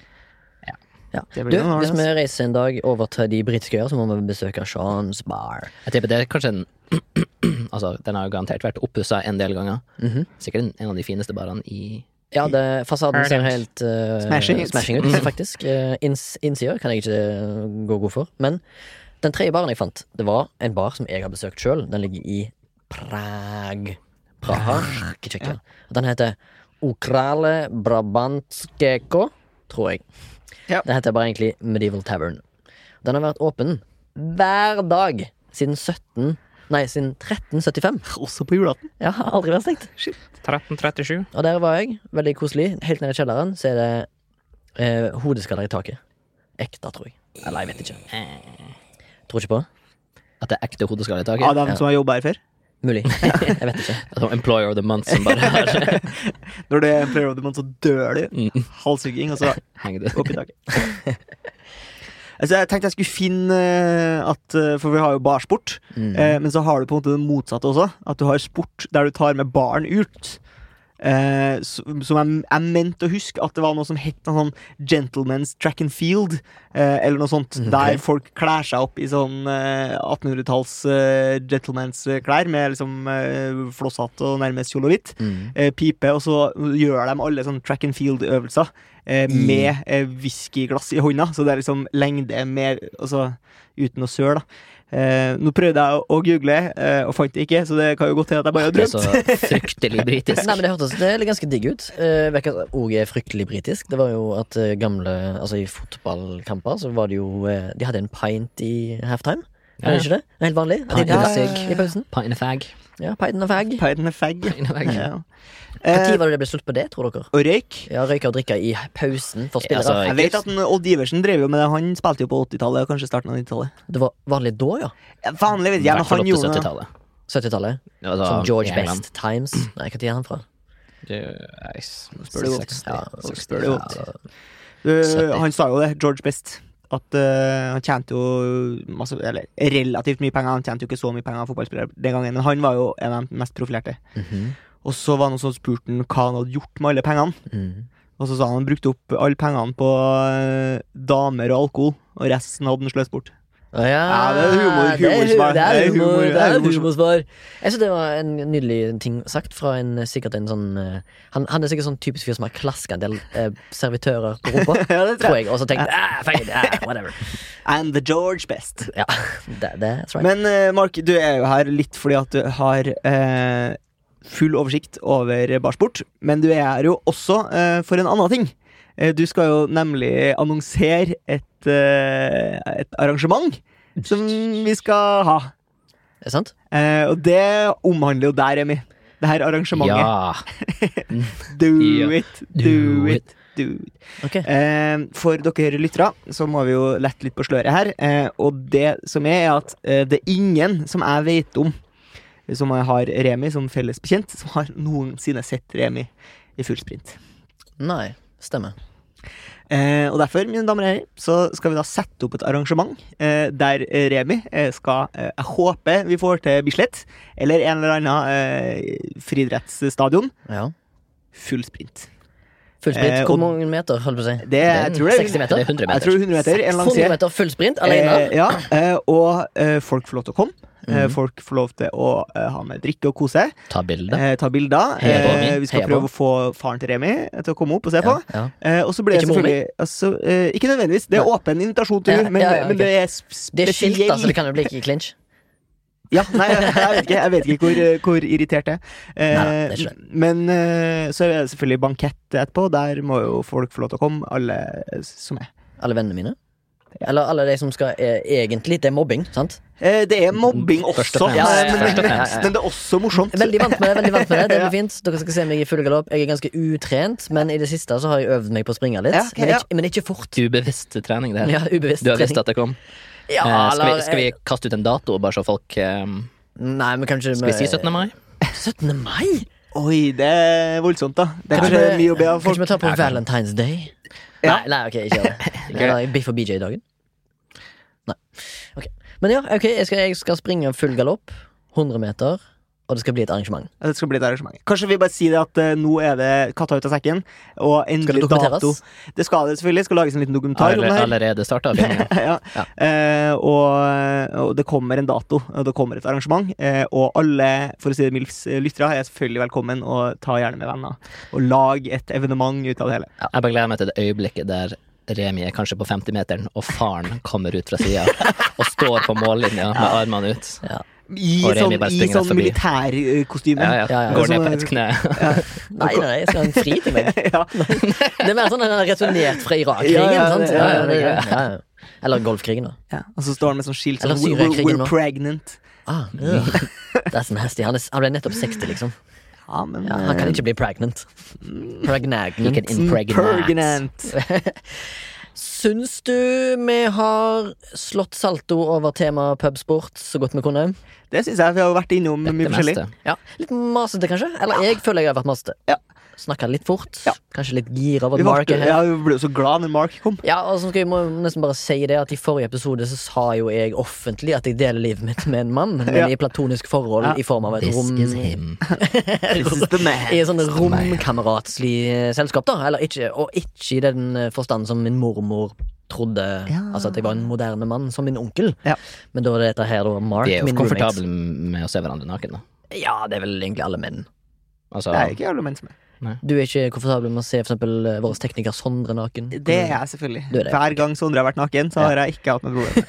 Speaker 2: Du,
Speaker 1: Det blir noe
Speaker 2: hvis vi
Speaker 1: annet.
Speaker 2: reiser en dag over til de britiske øyer, så må vi besøke Sean's Bar.
Speaker 3: Jeg tipper det er kanskje den altså, den har jo garantert vært oppussa en del ganger.
Speaker 2: Mhm.
Speaker 3: Sikkert en- en av de fineste barene i
Speaker 2: Ja, det, fasaden ser helt eh,
Speaker 1: Smashing ut. Mm.
Speaker 2: smashing ut, faktisk. Eh, inns, innsider kan jeg ikke eh, gå god for. Men den tredje baren jeg fant, det var en bar som jeg har besøkt sjøl. Den ligger i Prag. Praha i Tsjekkia. Den heter Okrale Brabantskeko, tror jeg.
Speaker 1: Ja.
Speaker 2: Den heter bare egentlig Medieval Tavern. Den har vært åpen hver dag siden 17... Nei, siden 1375.
Speaker 1: Også på julaften.
Speaker 2: Ja, har aldri vært stengt.
Speaker 6: 1337.
Speaker 2: Og der var jeg, veldig koselig. Helt nede i kjelleren så er det eh, hodeskaller i taket. Ekte, tror jeg. Eller jeg vet ikke. Eh. Tror ikke på. det.
Speaker 3: At det er ekte hodeskalle i
Speaker 1: Av
Speaker 3: taket.
Speaker 1: dem som har jobba her før.
Speaker 2: Mulig. Jeg vet ikke.
Speaker 3: Altså, Employer of the month som bare har
Speaker 1: Når det er en player of the month, så dør du.
Speaker 3: Mm.
Speaker 1: Halshugging, og så
Speaker 3: hengt det.
Speaker 1: opp i taket. Altså, jeg tenkte jeg skulle finne eh, at eh, For vi har jo barsport. Eh, men så har du på en måte det motsatte også. At du har sport der du tar med barn ut. Eh, som som jeg, jeg mente å huske at det var noe som het noe sånn Gentlemen's Track and Field. Eh, eller noe sånt. Der folk klær seg opp i sånn eh, 1800-talls eh, gentlemen's eh, klær med liksom eh, flosshatt og nærmest kjole og hvitt. Eh, pipe, og så gjør de alle sånn track and field-øvelser eh,
Speaker 3: Mm.
Speaker 1: med eh, whiskyglass i hånda. Så det er liksom lengde med Altså uten å søle, da. Eh, nå prøvde jeg å, å google eh, og fant det ikke, så det kan jo godt hende at jeg bare har
Speaker 3: Ah, Det er så
Speaker 1: drømt.
Speaker 3: fryktelig britisk.
Speaker 2: Nei, men Det hørtes det er ganske digg ut. Eh, Vet hva som òg er fryktelig britisk. Det var jo at eh, gamle Altså I fotballkamper så var det jo eh, De hadde en pint i halftime. Er det ikke det? Helt vanlig. At de
Speaker 3: Pint og
Speaker 2: drakk
Speaker 3: sigg.
Speaker 2: I pausen.
Speaker 3: Pint of fag.
Speaker 2: Ja, Pint og fag.
Speaker 1: Pint and fag.
Speaker 3: Pint of fag.
Speaker 1: Ja.
Speaker 2: Når
Speaker 1: Eh,
Speaker 2: var det det ble slutt på det, tror dere?
Speaker 1: og røyk.
Speaker 2: Ja, Røyke og drikke i pausen for spillere.
Speaker 3: Altså,
Speaker 1: Jeg vet at en Odd Iversen drev jo med det. Han spilte jo på 80-tallet og kanskje starten av 90-tallet.
Speaker 2: Det var vanlig da, ja.
Speaker 1: Ja, Vanlig vet
Speaker 3: I
Speaker 1: jeg, men
Speaker 3: hvert fall
Speaker 1: han
Speaker 3: opp til
Speaker 1: gjorde det.
Speaker 3: 70-tallet.
Speaker 2: 70-tallet.
Speaker 3: Altså,
Speaker 2: Som George
Speaker 3: i England.
Speaker 2: Best Times. Nei, når er han fra?
Speaker 3: Det- nei, s-
Speaker 1: Spør du godt.
Speaker 3: 60,
Speaker 2: Ja,
Speaker 3: 60,
Speaker 1: spør du
Speaker 3: ja.
Speaker 1: godt. Eh,
Speaker 3: 70.
Speaker 1: han sa jo det, George Best, at eh, han tjente jo masse, eller relativt mye penger. Han tjente jo ikke så mye penger av fotballspillere den gangen, men han var jo en av de mest profilerte. Og så var det noen som spurte han hva han hadde gjort med alle pengene.
Speaker 2: Mhm.
Speaker 1: Og så sa han han brukte opp alle pengene på eh, damer og alkohol, og resten hadde han sløst bort.
Speaker 2: Å ja,
Speaker 1: Ja, det er humor,
Speaker 2: det er hu-
Speaker 1: humorsvar.
Speaker 2: Det
Speaker 1: Det
Speaker 2: er
Speaker 1: er humor,
Speaker 2: humor,
Speaker 1: det
Speaker 2: det
Speaker 1: er
Speaker 2: er
Speaker 1: humor.
Speaker 2: humorsvar. Jeg synes det var en nydelig ting sagt fra en eh, sikkert en sånn eh, Han, han er sikkert sånn typisk fyr som har klaska en del eh, servitører på rumpa.
Speaker 1: Ja, det tror
Speaker 2: tror
Speaker 1: jeg.
Speaker 2: jeg. Og så tenkt ah, feil, ah, whatever.
Speaker 1: And the George Best.
Speaker 2: Ja, det, that's right.
Speaker 1: Men eh, Mark, du er jo her litt fordi at du har eh, full oversikt over barsport. Men du er her jo også eh, for en annen ting. Eh, du skal jo nemlig annonsere et, eh, et arrangement som vi skal ha.
Speaker 2: Er det sant?
Speaker 1: Eh, og det omhandler jo deg, Remi. Det her arrangementet.
Speaker 3: Ja.
Speaker 1: Do
Speaker 3: Ja.
Speaker 1: it, do
Speaker 3: Do
Speaker 1: it, do it.
Speaker 2: Ok.
Speaker 1: Eh, for dere lyttere, så må vi jo lette litt på sløret her. Eh, og det som er, er at eh, det er ingen som jeg vet om, som jeg har Remi som felles bekjent, som har noensinne sett Remi i full sprint.
Speaker 2: Nei. Stemmer.
Speaker 1: Eh, og derfor, mine damer og herrer, så skal vi da sette opp et arrangement eh, der eh, Remi eh, skal eh, Jeg håper vi får til Bislett, eller en eller annen eh, friidrettsstadion.
Speaker 2: Ja.
Speaker 1: Full sprint.
Speaker 2: Full sprint.
Speaker 1: Eh,
Speaker 2: Hvor
Speaker 1: og-
Speaker 2: mange meter, holdt på å si?
Speaker 1: Det, jeg tror det er
Speaker 2: 60 meter?
Speaker 3: Det er 100 meter.
Speaker 1: Jeg tror 100 meter. En lang
Speaker 2: 100
Speaker 1: side.
Speaker 2: meter full sprint alene? Mhm.
Speaker 1: Eh, ja, eh, og eh, folk får lov til å komme. Eh, Folk får lov til å eh, ha med drikke og kose.
Speaker 3: Ta bilde.
Speaker 1: Eh, ta bilder.
Speaker 3: Heia på
Speaker 1: Eh,
Speaker 3: Remi.
Speaker 1: vi skal
Speaker 2: Heia på.
Speaker 1: prøve å få faren til Remi eh, til å komme opp og se på.
Speaker 2: Ja, ja.
Speaker 1: Eh, og så blir det
Speaker 2: Ikke mor mi?
Speaker 1: selvfølgelig altså, eh, Ikke nødvendigvis. Det er åpen invitasjon til
Speaker 2: Ja,
Speaker 1: henne, men,
Speaker 2: ja, ja,
Speaker 1: men
Speaker 2: ok.
Speaker 1: det er sp-
Speaker 2: Det er skilt, da, så
Speaker 1: spesiell
Speaker 2: det kan jo bli ikke clinch.
Speaker 1: ja, nei, jeg vet ikke, jeg vet ikke hvor, eh, hvor irritert det er. Eh,
Speaker 2: Neida, det skjønner
Speaker 1: men eh, så er det selvfølgelig bankett etterpå. Der må jo folk få lov til å komme, alle eh, som er.
Speaker 2: Alle vennene mine? Eller alle de som skal eh, egentlig Det er mobbing, sant?
Speaker 1: Eh, Det er mobbing
Speaker 3: Først
Speaker 1: også,
Speaker 3: og
Speaker 1: men,
Speaker 3: fremst.
Speaker 1: men,
Speaker 3: Først og
Speaker 1: men,
Speaker 3: fremst, ja, ja.
Speaker 1: men det er også morsomt.
Speaker 2: Veldig vant med det. veldig vant med Det Det er veldig fint. Dere skal se meg i full galopp. Jeg er ganske utrent, men i det siste så har jeg øvd meg på å springe litt.
Speaker 1: Ja, ok,
Speaker 2: men,
Speaker 1: ja.
Speaker 2: ikke, men ikke fort.
Speaker 3: Ubevisst trening, det her.
Speaker 2: Ja, ubevisst.
Speaker 3: Du har visst
Speaker 2: trening.
Speaker 3: at det kom.
Speaker 2: ja,
Speaker 3: Eh, skal, vi,
Speaker 2: eller-
Speaker 3: skal vi kaste ut en dato, bare så folk eh,
Speaker 2: Nei, men kanskje
Speaker 3: Skal vi si 17. mai?
Speaker 2: 17. mai?
Speaker 1: Oi, det er voldsomt, da. Det er
Speaker 2: Kanskje
Speaker 1: kanskje
Speaker 2: vi-
Speaker 1: mye å be
Speaker 2: Kanskje
Speaker 1: av folk.
Speaker 2: vi tar på
Speaker 3: Ja, kan-
Speaker 2: Valentine's Day?
Speaker 1: Ja.
Speaker 2: Nei, nei, ok, ikke det. Eller Biff og BJ-dagen? Nei. Ok. Men ja, ok, jeg skal, jeg skal springe full galopp. 100 meter. og det skal bli et arrangement.
Speaker 1: Det skal bli et arrangement. Kanskje vi bare sier det at eh, nå er det katta ut av sekken. Og
Speaker 2: Skal det
Speaker 1: endelig
Speaker 2: dokumenteres?
Speaker 1: dato. Det skal det selvfølgelig. Det skal lages en liten dokumentar om
Speaker 3: Alle,
Speaker 1: det her.
Speaker 3: allerede starta filmen.
Speaker 1: ja.
Speaker 3: Ja.
Speaker 1: Eh, og, og det kommer en dato, og det kommer et arrangement. Eh, og alle for å si det Milfs eh, lyttere er selvfølgelig velkommen, og ta gjerne med venner. Og lag et evenement ut av det hele.
Speaker 3: Ja, Jeg bare gleder meg til det øyeblikket der Remi er kanskje på 50-meteren, og faren kommer ut fra sida og står på mållinja med armene ut.
Speaker 1: I
Speaker 3: Og Remi
Speaker 1: sånn,
Speaker 3: bare
Speaker 1: i
Speaker 3: springer
Speaker 1: sånn
Speaker 3: rett forbi.
Speaker 1: militærkostyme.
Speaker 3: Ja, ja.
Speaker 2: ja.
Speaker 3: Går ned på et kne.
Speaker 2: Nei, nei, jeg skal ha en fri til meg.
Speaker 1: ja.
Speaker 2: Det er mer sånn at han er returnert fra Irak-krigen.
Speaker 1: Ja, ja,
Speaker 2: sant?
Speaker 1: det- ja, ja,
Speaker 2: Ja, ja, ja, ja. Eller Golfkrigen, da.
Speaker 1: Ja, Og så står han med sånn skilt sånn
Speaker 2: Eller
Speaker 1: we're, we're,
Speaker 2: Syriakrigen nå.
Speaker 1: pregnant.
Speaker 2: Ah, ja. Det er så nasty. Han, er, han ble nettopp 60, liksom.
Speaker 1: Ja, men
Speaker 2: Ja, han kan ikke bli pregnant. Pregnant.
Speaker 3: Like an impregnant.
Speaker 1: Pregnant.
Speaker 2: Syns du vi har slått salto over temaet pubsport så godt vi kunne?
Speaker 1: Det syns jeg vi har vært innom mye
Speaker 3: Det
Speaker 1: forskjellig.
Speaker 3: meste.
Speaker 2: Ja, Litt masete, kanskje? Eller jeg føler jeg har vært masete.
Speaker 1: Ja.
Speaker 2: Snakka litt fort.
Speaker 1: Ja.
Speaker 2: Kanskje litt gira over
Speaker 1: Vi,
Speaker 2: at
Speaker 1: var,
Speaker 2: Mark er her.
Speaker 1: ja, vi ble jo så glad når Mark kom.
Speaker 2: Ja, og så skal jeg må nesten bare si det at I forrige episode så sa jo jeg offentlig at jeg deler livet mitt med en mann, men
Speaker 1: Ja.
Speaker 2: i platonisk forhold
Speaker 1: Ja.
Speaker 2: i form av et
Speaker 3: This
Speaker 2: rom
Speaker 3: is him.
Speaker 1: This is the man.
Speaker 2: I et sånn romkameratslig eh, selskap, da. Eller ikke, og ikke i den eh, forstand som min mormor trodde.
Speaker 1: Ja.
Speaker 2: Altså at jeg var en moderne mann, som min onkel.
Speaker 1: Ja.
Speaker 2: Men da er dette her, da, Mark,
Speaker 3: De er jo
Speaker 2: min roommate.
Speaker 3: komfortable med å se hverandre naken, da.
Speaker 2: Ja, det er vel egentlig alle menn.
Speaker 3: Altså,
Speaker 1: Det er ikke alle menn som er.
Speaker 2: Du er ikke komfortabel med å se for eksempel eh, vår tekniker Sondre naken?
Speaker 1: Det er jeg selvfølgelig.
Speaker 2: Du er det.
Speaker 1: Hver gang Sondre har vært naken, så har jeg ikke hatt noe problem.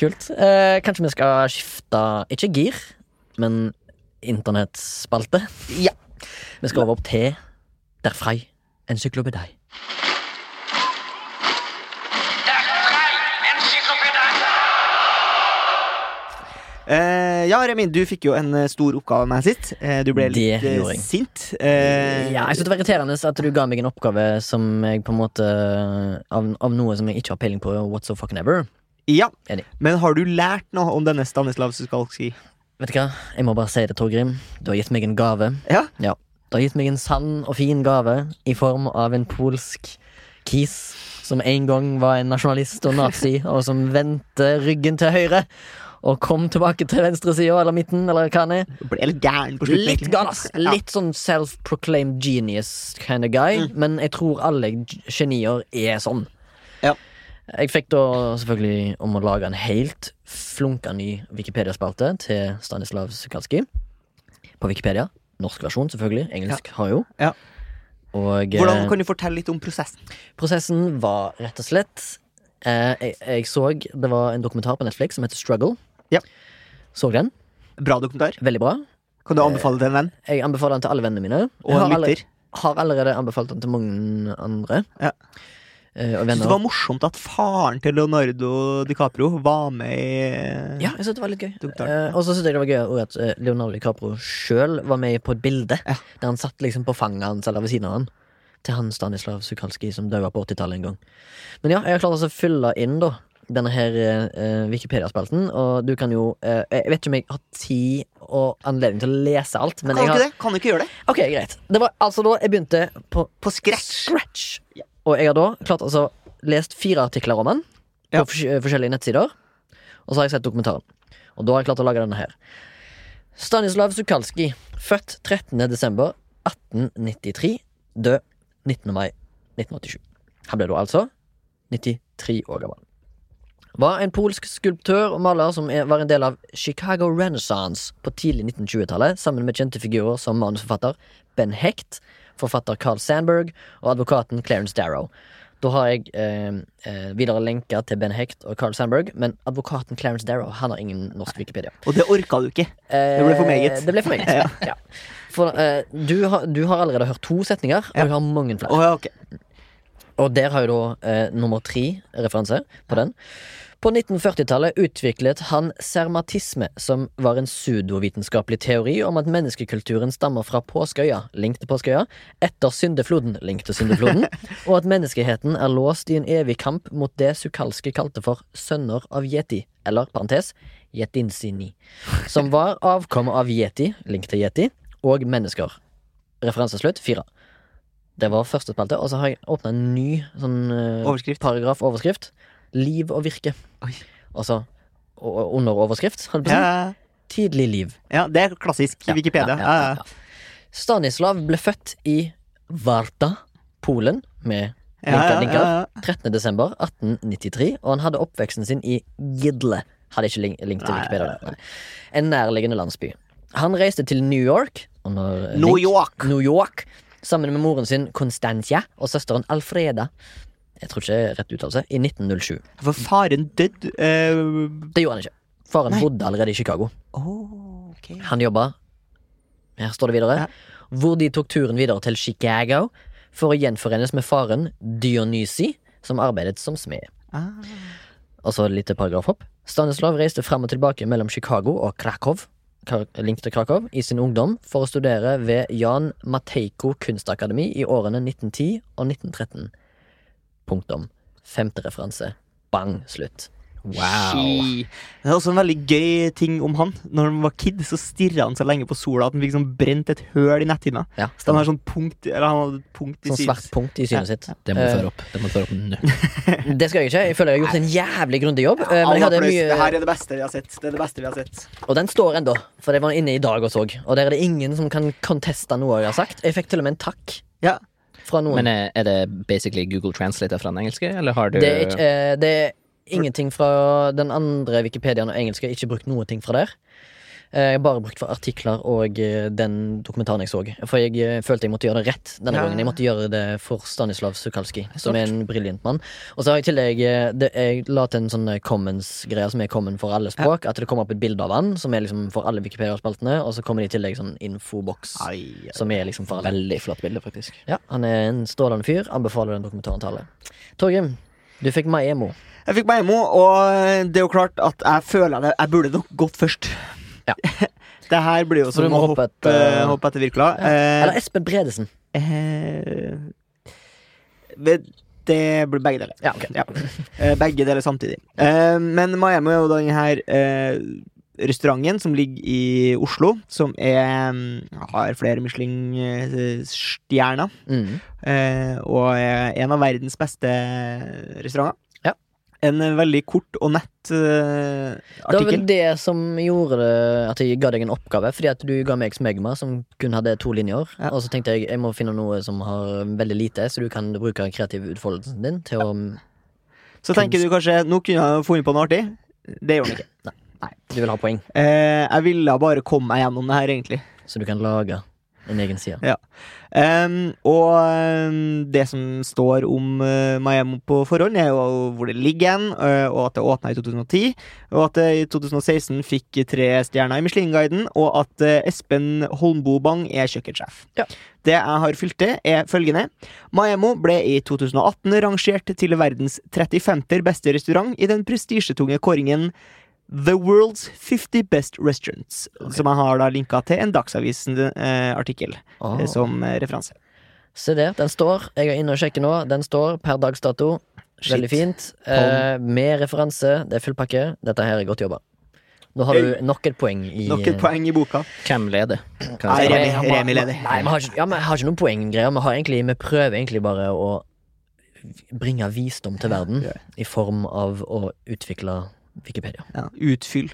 Speaker 2: Kult. Eh, kanskje vi skal skifte, ikke gir, men internettspalte? Ja. Vi skal over opp til Der Frei encyklopedi.
Speaker 1: Eh, ja, Remi, du fikk jo en eh, stor oppgave med meg sist. Eh, du ble
Speaker 2: Det
Speaker 1: litt eh,
Speaker 2: gjorde jeg.
Speaker 1: sint. Eh,
Speaker 2: Ja, jeg synes det var irriterende at du ga meg en oppgave som jeg på en måte Av, av noe som jeg ikke har peiling på. What so fucking ever.
Speaker 1: ja.
Speaker 2: Enig.
Speaker 1: Men har du lært noe om denne Stanislav Suskalski?
Speaker 2: Vet du hva? Jeg må bare si det, Torgrim. Du har gitt meg en gave.
Speaker 1: Ja.
Speaker 2: Ja. Du har gitt meg en sann og fin gave i form av en polsk kis som en gang var en nasjonalist og nazi, og som vendte ryggen til høyre og kom tilbake til venstresida eller midten, eller hva han er.
Speaker 1: Du ble litt gæren på slutten.
Speaker 2: Litt
Speaker 1: egentlig.
Speaker 2: gal, ass. Litt sånn self-proclaimed genius kind of guy.
Speaker 1: Mm.
Speaker 2: Men jeg tror alle g- genier er sånn.
Speaker 1: Ja.
Speaker 2: Jeg fikk da selvfølgelig om å lage en helt flunka ny Wikipedia-spalte til Stanislav Sukalski. På Wikipedia. Norsk versjon, selvfølgelig. Engelsk har jo.
Speaker 1: Ja.
Speaker 2: Og eh,
Speaker 1: Hvordan kan du fortelle litt om prosessen?
Speaker 2: prosessen var rett og slett eh, jeg, jeg så Det var en dokumentar på Netflix som heter Struggle.
Speaker 1: Ja.
Speaker 2: Så den.
Speaker 1: Bra dokumentar.
Speaker 2: Veldig bra.
Speaker 1: Kan du anbefale til en venn?
Speaker 2: Jeg anbefaler den til alle vennene mine.
Speaker 1: Og
Speaker 2: Jeg har
Speaker 1: en
Speaker 2: alle-
Speaker 1: lytter?
Speaker 2: har allerede anbefalt den til mange andre.
Speaker 1: Ja.
Speaker 2: Eh, og
Speaker 1: Synes
Speaker 2: venner.
Speaker 1: det var morsomt at faren til Leonardo DiCaprio var med i
Speaker 2: Ja, jeg synes det var litt gøy.
Speaker 1: Dokumentaren.
Speaker 2: Eh, og så synes jeg det var gøy også at eh, Leonardo DiCaprio sjøl var med på et bilde.
Speaker 1: Ja.
Speaker 2: Der han satt liksom på fanget hans eller ved siden av han. Til han Stanislav Sukalski som døde på 80-tallet en gang. Men ja, jeg har klart altså å fylle inn da denne her eh, Wikipedia-spalten. Og du kan jo eh, Jeg vet ikke om jeg har tid og anledning til å lese alt, men jeg
Speaker 1: Kan du
Speaker 2: har
Speaker 1: ikke det? Kan du ikke gjøre det?
Speaker 2: Ok, greit. Det var altså da jeg begynte på
Speaker 1: På scratch.
Speaker 2: Og jeg har da klart altså lest fire artikler om den
Speaker 1: Ja.
Speaker 2: på fors eh, forskjellige nettsider. Og så har jeg sett dokumentaren. Og da har jeg klart å lage denne her. Stanislav Sukalski, født 13. desember 1893, død 19. mai 1987. Han ble da altså 93 år gammel. Var en polsk skulptør og maler som er- var en del av Chicago Renaissance på tidlig 1920-tallet, sammen med kjente figurer som manusforfatter Ben Hecht, forfatter Carl Sandberg og advokaten Clarence Darrow. Da har jeg eh, eh, videre lenker til Ben Hecht og Carl Sandberg, men advokaten Clarence Darrow han har ingen norsk Wikipedia.
Speaker 1: Og det orka du ikke.
Speaker 2: Det
Speaker 1: ble for meget.
Speaker 2: Det ble for meget. ja. For eh, du, har, du har allerede hørt to setninger, og jeg har mange flere.
Speaker 1: Å, ja, ok.
Speaker 2: Og der har jo da eh, nummer tre referanse på den. På 1940-tallet utviklet han sermatisme, som var en pseudovitenskapelig teori om at menneskekulturen stammer fra påskeøya, link til påskeøya, etter syndefloden, link til syndefloden, og at menneskeheten er låst i en evig kamp mot det Sukalski kalte for sønner av yeti, eller parentes, yetinsini, som var avkommet av yeti, link til yeti, og mennesker. Referanseslutt fire. Det var første spalte, og så har jeg åpna en ny sånn, eh,
Speaker 1: Overskrift.
Speaker 2: paragraf overskrift. Liv og virke.
Speaker 1: Oi.
Speaker 2: Altså o- o- under overskrift. holdt jeg på å si.
Speaker 1: Ja.
Speaker 2: tidlig liv.
Speaker 1: Ja, det er klassisk i Wikipedia. sånn? Ja, ja, ja.
Speaker 2: Stanislav ble født i Varta, Polen, med
Speaker 1: Ja,
Speaker 2: linka
Speaker 1: ja,
Speaker 2: linker.
Speaker 1: ja, ja.
Speaker 2: 13. desember 1893, og han hadde oppveksten sin i Gidle. Hadde ikke link, link til
Speaker 1: Nei,
Speaker 2: Wikipedia. Nei. En nærliggende landsby. Han reiste til New York og når-
Speaker 1: New
Speaker 2: link-
Speaker 1: York.
Speaker 2: New York sammen med moren sin Constancia og søsteren Alfreda. Jeg tror ikke det er rett uttalelse. I 1907.
Speaker 1: For faren død eh,
Speaker 2: Det gjorde han ikke. Faren
Speaker 1: Nei.
Speaker 2: bodde allerede i Chicago.
Speaker 1: åh, Oh, ok.
Speaker 2: Han jobba Her står det videre.
Speaker 1: Ja.
Speaker 2: Hvor de tok turen videre til Chicago for å gjenforenes med faren Dionysi, som arbeidet som smed.
Speaker 1: Ah.
Speaker 2: Og så et lite paragrafhopp. Stanislav reiste fram og tilbake mellom Chicago og Krakow Kra- link til Krakow, i sin ungdom for å studere ved Jan Mateiko kunstakademi i årene 1910 og 1913. Punktum. Femte referanse. Bang. Slutt.
Speaker 1: Ski. Det er også en veldig gøy ting om han. Når han var kid, så stirra han så lenge på sola at han fikk sånn brent et høl i netthinna.
Speaker 2: Ja,
Speaker 1: Så
Speaker 2: stemmer.
Speaker 1: han har sånn punkt Eller han hadde et punkt i
Speaker 2: Sånn svart
Speaker 1: synet.
Speaker 2: punkt i
Speaker 1: Ja,
Speaker 2: synet sitt. Eh,
Speaker 3: Det må du føre opp. Det må du føre opp nå.
Speaker 2: Det skal jeg ikke. Jeg føler jeg har gjort en jævlig grundig jobb. eh, Men jeg hadde
Speaker 1: Applaus. Det
Speaker 2: mye,
Speaker 1: her er det beste vi har sett. Det er det beste vi har sett.
Speaker 2: og den står ennå, for jeg var inne i dag og så. Og der er det ingen som kan conteste noe jeg har sagt. Jeg fikk til og med en takk
Speaker 1: Ja.
Speaker 2: fra noen.
Speaker 3: Men eh, er det basically Google Translator fra den engelske, eller har du
Speaker 2: det, er ikke, eh, det er ingenting fra den andre Wikipediaen og engelsk. Jeg har ikke brukt noe ting fra der. Eh, Jeg har bare brukt for artikler og eh, den dokumentaren jeg så. For jeg eh, følte jeg måtte gjøre det rett denne
Speaker 1: Ja.
Speaker 2: gangen. Jeg måtte gjøre det for Stanislav Sukalski, som er
Speaker 3: Stort.
Speaker 2: en briljant mann. Og så har jeg i tillegg eh, det, Jeg la til en sånn eh, commons-greie som er common for alle språk. At det kommer opp et bilde av han, som er liksom for alle Wikipedia-spaltene. Og så kommer det i tillegg sånn infoboks, som er liksom for alle.
Speaker 3: Veldig flott bilde, faktisk.
Speaker 2: Ja, han er en strålende fyr. Anbefaler den dokumentaren til alle. Torgrim, du fikk meg emo.
Speaker 1: Jeg fikk meg emo, og eh, det er jo klart at jeg føler det. Jeg burde nok gått først.
Speaker 2: Ja.
Speaker 1: det her blir jo
Speaker 2: Så du
Speaker 1: som
Speaker 2: må
Speaker 1: å
Speaker 2: hoppe
Speaker 1: hoppe,
Speaker 2: etter-
Speaker 1: hoppe etter Virkela.
Speaker 2: Eller Espen Bredesen.
Speaker 1: Eh, det, det blir begge deler.
Speaker 2: Ja, ok.
Speaker 1: Ja. Eh, Begge deler samtidig. Eh, Men Miami er jo den her eh, restauranten som ligger i Oslo, som er, mm, har flere eh, Michelin-stjerner.
Speaker 2: Mm.
Speaker 1: eh, og er en av verdens beste restauranter.
Speaker 2: Ja.
Speaker 1: En eh, veldig kort og nett eh,
Speaker 2: Det var vel
Speaker 1: artikkel.
Speaker 2: det som gjorde det at jeg ga deg en oppgave. Fordi at du ga meg smegma, som kun hadde to linjer.
Speaker 1: Ja.
Speaker 2: Og så tenkte jeg jeg må finne noe som har veldig lite, så du kan bruke den kreative utfoldelsen din til å
Speaker 1: Så tenker du kanskje nå kunne jeg jo funnet på noe artig. Det gjorde han ikke.
Speaker 2: Du vil ha poeng,
Speaker 1: Eh, jeg ville bare komme meg gjennom det her, egentlig.
Speaker 2: så du kan lage en egen side.
Speaker 1: Ehm, og ehm, det som står om eh, Miami på forhånd, er jo hvor det ligger hen, eh, og at det åpna i 2010. Og at det i 2016 fikk tre stjerner i Michelin-guiden, og at eh, Espen Holmbo Bang er kjøkkensjef.
Speaker 2: Ja.
Speaker 1: Det jeg har fylt til, er følgende. Miami ble i 2018 rangert til verdens 35. beste restaurant i den prestisjetunge kåringen The World's 50 Best Restaurants, som jeg har da linka til en eh, Dagsavisen-artikkel
Speaker 2: Åh.
Speaker 1: som eh, referanse.
Speaker 2: Se der, den står. Jeg er inne og sjekker nå. Den står per dags dato.
Speaker 1: Shit.
Speaker 2: Veldig fint. Eh, med referanse. Det er full pakke. Dette her er godt jobba. Nå har du nok et poeng i eh,
Speaker 1: Nok et poeng i boka.
Speaker 3: Hvem leder? Kan
Speaker 1: Nei,
Speaker 3: jeg si?
Speaker 1: Remi,
Speaker 2: han var-
Speaker 1: Remi leder.
Speaker 2: Nei, vi har ikke, ja, vi har ikke noen poenggreier. Vi, har egentlig, vi prøver egentlig bare å bringe visdom til verden
Speaker 1: Ja.
Speaker 2: i form av å utvikle Wikipedia.
Speaker 1: Ja, utfyll.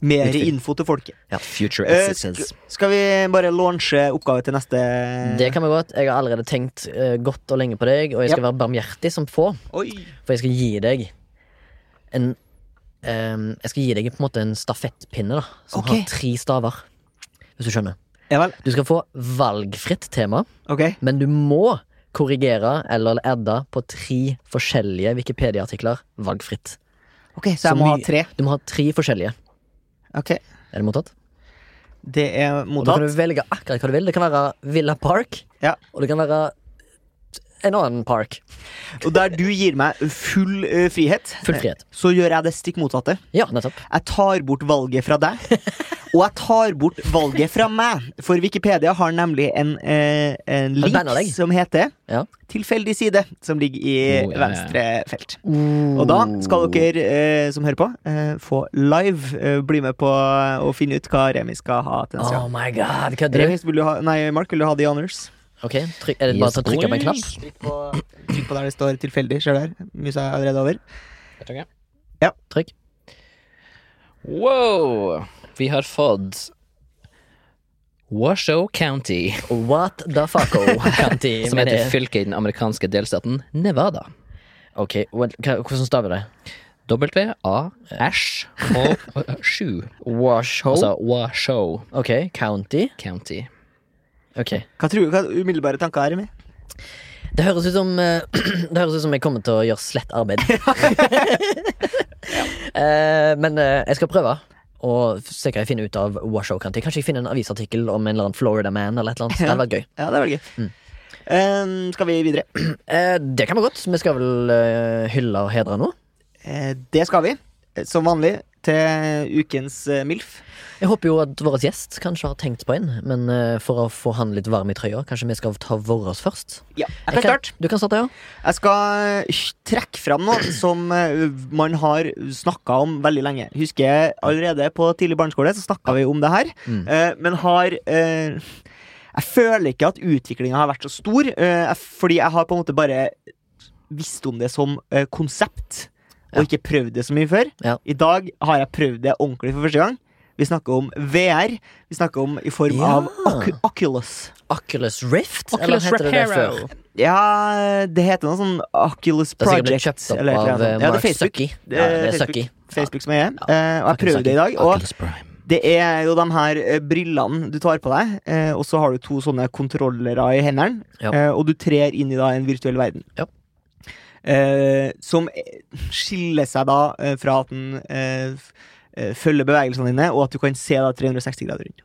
Speaker 1: Mer
Speaker 2: Utfyll.
Speaker 1: info til folket.
Speaker 3: Future
Speaker 1: Eh,
Speaker 3: Existence.
Speaker 1: Skal vi bare launche oppgave til neste
Speaker 2: Det kan vi godt. Jeg har allerede tenkt eh, godt og lenge på deg, og jeg skal være barmhjertig som få,
Speaker 1: Oi!
Speaker 2: for jeg skal gi deg en eh, Jeg skal gi deg på en måte en stafettpinne da som
Speaker 1: Ok.
Speaker 2: har tre staver, hvis du skjønner.
Speaker 1: Ja vel.
Speaker 2: Du skal få valgfritt tema.
Speaker 1: Ok.
Speaker 2: Men du må korrigere eller edde på tre forskjellige Wikipedia-artikler valgfritt.
Speaker 1: Ok, Så jeg
Speaker 2: Så
Speaker 1: må ha
Speaker 2: mye-
Speaker 1: tre.
Speaker 2: Du må ha tre forskjellige.
Speaker 1: Ok,
Speaker 2: Er det mottatt?
Speaker 1: Det er
Speaker 2: Og da kan
Speaker 1: mottatt.
Speaker 2: du velge akkurat hva du vil. Det kan være Villa Park,
Speaker 1: Ja.
Speaker 2: og det kan være en annen park.
Speaker 1: Og der du gir meg full eh, frihet,
Speaker 2: Full frihet.
Speaker 1: så gjør jeg det stikk motsatte.
Speaker 2: Ja, nettopp.
Speaker 1: Jeg tar bort valget fra deg. Og jeg tar bort valget fra meg, for Wikipedia har nemlig en, eh, en
Speaker 2: Har du banna
Speaker 1: link
Speaker 2: deg?
Speaker 1: som heter
Speaker 2: Ja.
Speaker 1: 'Tilfeldig side', som ligger i
Speaker 3: Oh, ja, ja.
Speaker 1: venstre felt. Og da skal dere eh, som hører på, eh, få live eh, bli med på eh, å finne ut hva Remi skal ha til neste
Speaker 2: Oh
Speaker 1: gang.
Speaker 2: my god, kødder du?
Speaker 1: Remi, vil du ha, nei, Mark, vil du ha The Honors?
Speaker 2: Ok, tryk, Er det bare å trykke på en knapp?
Speaker 1: Trykk på, trykk på der det står 'tilfeldig'. Ser du der? Musa er allerede over.
Speaker 2: Trykk.
Speaker 3: Wow! Vi har fått Washoe County,
Speaker 2: What the fucko? Kanti,
Speaker 3: som
Speaker 2: men det-
Speaker 3: heter fylket i den amerikanske delstaten Nevada.
Speaker 2: Ok, well, hva- hvordan staver det?
Speaker 3: W-A-H-7.
Speaker 1: Oh.
Speaker 2: Washoe?
Speaker 3: Altså Washoe
Speaker 2: ok, county.
Speaker 3: County.
Speaker 2: Ok.
Speaker 1: Hva tror du hva umiddelbare tanker er med?
Speaker 2: Det høres ut som eh, Det høres ut som jeg kommer til å gjøre slett arbeid. Eh, Men eh, jeg skal prøve. Og se hva jeg finner ut av Washoe County. Kanskje jeg finner en avisartikkel om en eller annen Florida Man. eller et eller annet. Det hadde vært gøy.
Speaker 1: Ja, det er veldig gøy. Eh, skal vi videre?
Speaker 2: Eh, Det kan vi godt. Vi skal vel eh, hylle og hedre noe.
Speaker 1: Eh, det skal vi. eh, Som vanlig til ukens eh, MILF.
Speaker 2: Jeg håper jo at vår gjest kanskje har tenkt på en, men eh, for å få han litt varm i trøya, kanskje vi skal ta vår først?
Speaker 1: Ja, jeg kan starte.
Speaker 2: Du kan starte, ja.
Speaker 1: Jeg skal eh, trekke fram noe som eh, man har snakka om veldig lenge. Husker jeg allerede på tidlig barneskole så snakka vi om det her,
Speaker 2: Mm.
Speaker 1: eh, men har eh, Jeg føler ikke at utviklinga har vært så stor, eh, jeg- fordi jeg har på en måte bare visst om det som eh, konsept, og ikke prøvd det så mye før.
Speaker 2: Ja.
Speaker 1: I dag har jeg prøvd det ordentlig for første gang. Vi snakker om VR. Vi snakker om i form
Speaker 2: Ja.
Speaker 1: av Ocu- Oculus.
Speaker 2: Oculus Rift, eller
Speaker 6: Oculus
Speaker 2: heter det det
Speaker 6: Reparo.
Speaker 2: før?
Speaker 1: Ja, det heter noe sånn Oculus
Speaker 2: Det har sikkert blitt
Speaker 1: Project.
Speaker 2: kjøpt opp
Speaker 1: eller et eller
Speaker 2: av
Speaker 1: annet.
Speaker 2: eh,
Speaker 1: Ja, det er
Speaker 2: Mark
Speaker 1: Facebook.
Speaker 2: Sucky. Ja, det er Sucky.
Speaker 1: Facebook, Facebook som er jeg. Eh, og jeg
Speaker 2: Fucking
Speaker 1: prøvde det i dag. Og
Speaker 3: Oculus Prime.
Speaker 1: det er jo de her eh, brillene du tar på deg, eh, og så har du to sånne kontrollere i hendene,
Speaker 2: Ja.
Speaker 1: eh, og du trer inn i da en virtuell verden.
Speaker 2: Ja.
Speaker 1: Eh, som eh, skiller seg da eh, fra at den eh, f- eh, følger bevegelsene dine, og at du kan se deg 360 grader rundt.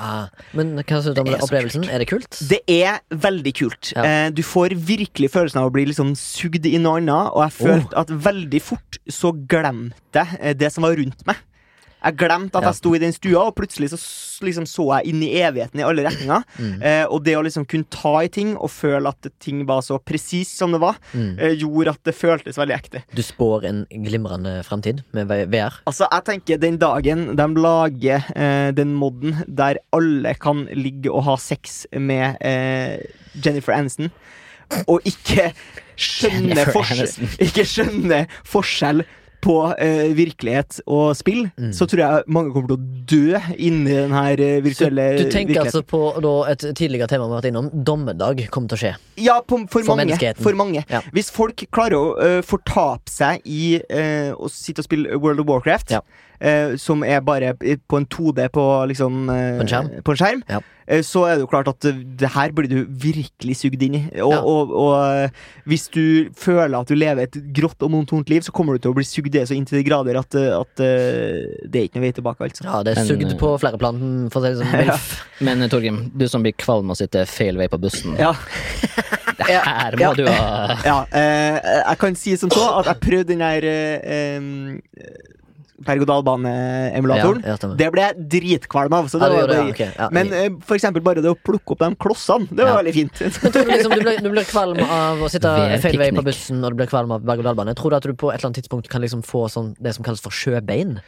Speaker 2: Ah, men hva syns du om
Speaker 3: Det er så
Speaker 2: opplevelsen? Er det kult?
Speaker 1: Det er veldig kult.
Speaker 2: Ja.
Speaker 1: Eh, du får virkelig følelsen av å bli liksom sugd i noe annet, og jeg følte at veldig fort så glemte jeg eh, det som var rundt meg. Jeg glemte at
Speaker 2: Ja.
Speaker 1: jeg sto i den stua, og plutselig så s- liksom så jeg inn i evigheten i alle retninger.
Speaker 2: Mm.
Speaker 1: Eh, og det å liksom kunne ta i ting og føle at ting var så presis som det var,
Speaker 2: Mm.
Speaker 1: eh, gjorde at det føltes veldig ekte.
Speaker 2: Du spår en glimrende framtid med V- VR.
Speaker 1: Altså, jeg tenker Den dagen de lager eh, den moden der alle kan ligge og ha sex med eh, Jennifer Aniston, og ikke skjønne,
Speaker 3: Jennifer
Speaker 1: forskjell,
Speaker 3: Aniston.
Speaker 1: ikke skjønne forskjell på eh, virkelighet og spill, så tror jeg mange kommer til å dø inni den her eh,
Speaker 2: Mm. Så
Speaker 1: virtuelle
Speaker 2: du tenker
Speaker 1: virkeligheten.
Speaker 2: altså på da, et tidligere tema vi har vært innom. Dommedag kommer til å skje.
Speaker 1: Ja, på, for,
Speaker 2: For
Speaker 1: mange.
Speaker 2: menneskeheten.
Speaker 1: For mange.
Speaker 2: Ja.
Speaker 1: Hvis folk klarer å eh, fortape seg i eh, å sitte og spille World of Warcraft,
Speaker 2: Ja.
Speaker 1: eh, som er bare på en 2D på, liksom, eh,
Speaker 2: På en skjerm.
Speaker 1: på en skjerm,
Speaker 2: Ja.
Speaker 1: eh, så er det jo klart at eh, det her blir du virkelig sugd inn i. Og,
Speaker 2: Ja.
Speaker 1: og, og eh, hvis du føler at du lever et grått og monotont liv, så kommer du til å bli sugd i det så inntil de grader at, eh, at eh, det er ikke noe vei tilbake, altså.
Speaker 2: Ja, det er
Speaker 3: Men,
Speaker 2: sugd
Speaker 3: eh,
Speaker 2: på flere plan, for å si det sånn. Milf.
Speaker 3: Men eh, Torgrim, du som blir kvalm av å sitte feil vei på bussen.
Speaker 1: Ja.
Speaker 3: Her må
Speaker 1: Ja.
Speaker 3: du ha
Speaker 1: Ja, eh, jeg kan si som så at jeg prøvde den der eh, em, berg-og-dal-bane-emulatoren.
Speaker 2: Ja, ja, stemmer.
Speaker 1: det ble jeg dritkvalm av. Så det
Speaker 2: Ja, du
Speaker 1: var
Speaker 2: gjorde
Speaker 1: bare,
Speaker 2: det, ja, ok, ja.
Speaker 1: Men eh, for eksempel bare det å plukke opp de klossene, det var
Speaker 2: Ja.
Speaker 1: veldig fint.
Speaker 2: Tror du liksom du blir, du blir kvalm av å sitte
Speaker 3: Ved
Speaker 2: feil vei på
Speaker 3: piknik.
Speaker 2: bussen og du blir kvalm av berg-og-dal-bane? Tror du at du på et eller annet tidspunkt kan liksom få sånn, det som kalles for sjøbein?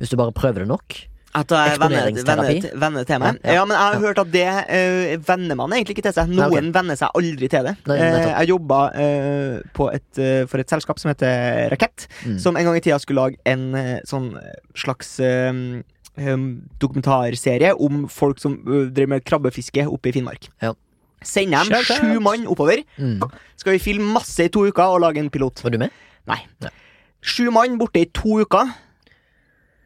Speaker 2: Hvis du bare prøver det nok?
Speaker 1: At jeg venner
Speaker 2: Eksponeringsterapi.
Speaker 1: venner- venner til meg.
Speaker 2: Ja,
Speaker 1: Ja,
Speaker 2: ja,
Speaker 1: men jeg har
Speaker 2: ja.
Speaker 1: hørt at det eh, venner man egentlig ikke til seg.
Speaker 2: Nei,
Speaker 1: Noen
Speaker 2: ok.
Speaker 1: venner seg aldri til det.
Speaker 2: Nei,
Speaker 1: Eh,
Speaker 2: nettopp.
Speaker 1: jeg jobba eh, på et, eh, for et selskap som heter Rakett,
Speaker 2: Mm.
Speaker 1: som en gang i tida skulle lage en eh, sånn slags eh, um, dokumentarserie om folk som uh, driver med krabbefiske oppe i Finnmark.
Speaker 2: Ja. Mm.
Speaker 1: Sender dem
Speaker 3: Shout out!
Speaker 1: sju mann oppover. Skal vi filme masse i to uker og lage en pilot?
Speaker 2: Var du med?
Speaker 1: Nei.
Speaker 2: Nei.
Speaker 1: Sju mann borte i to uker.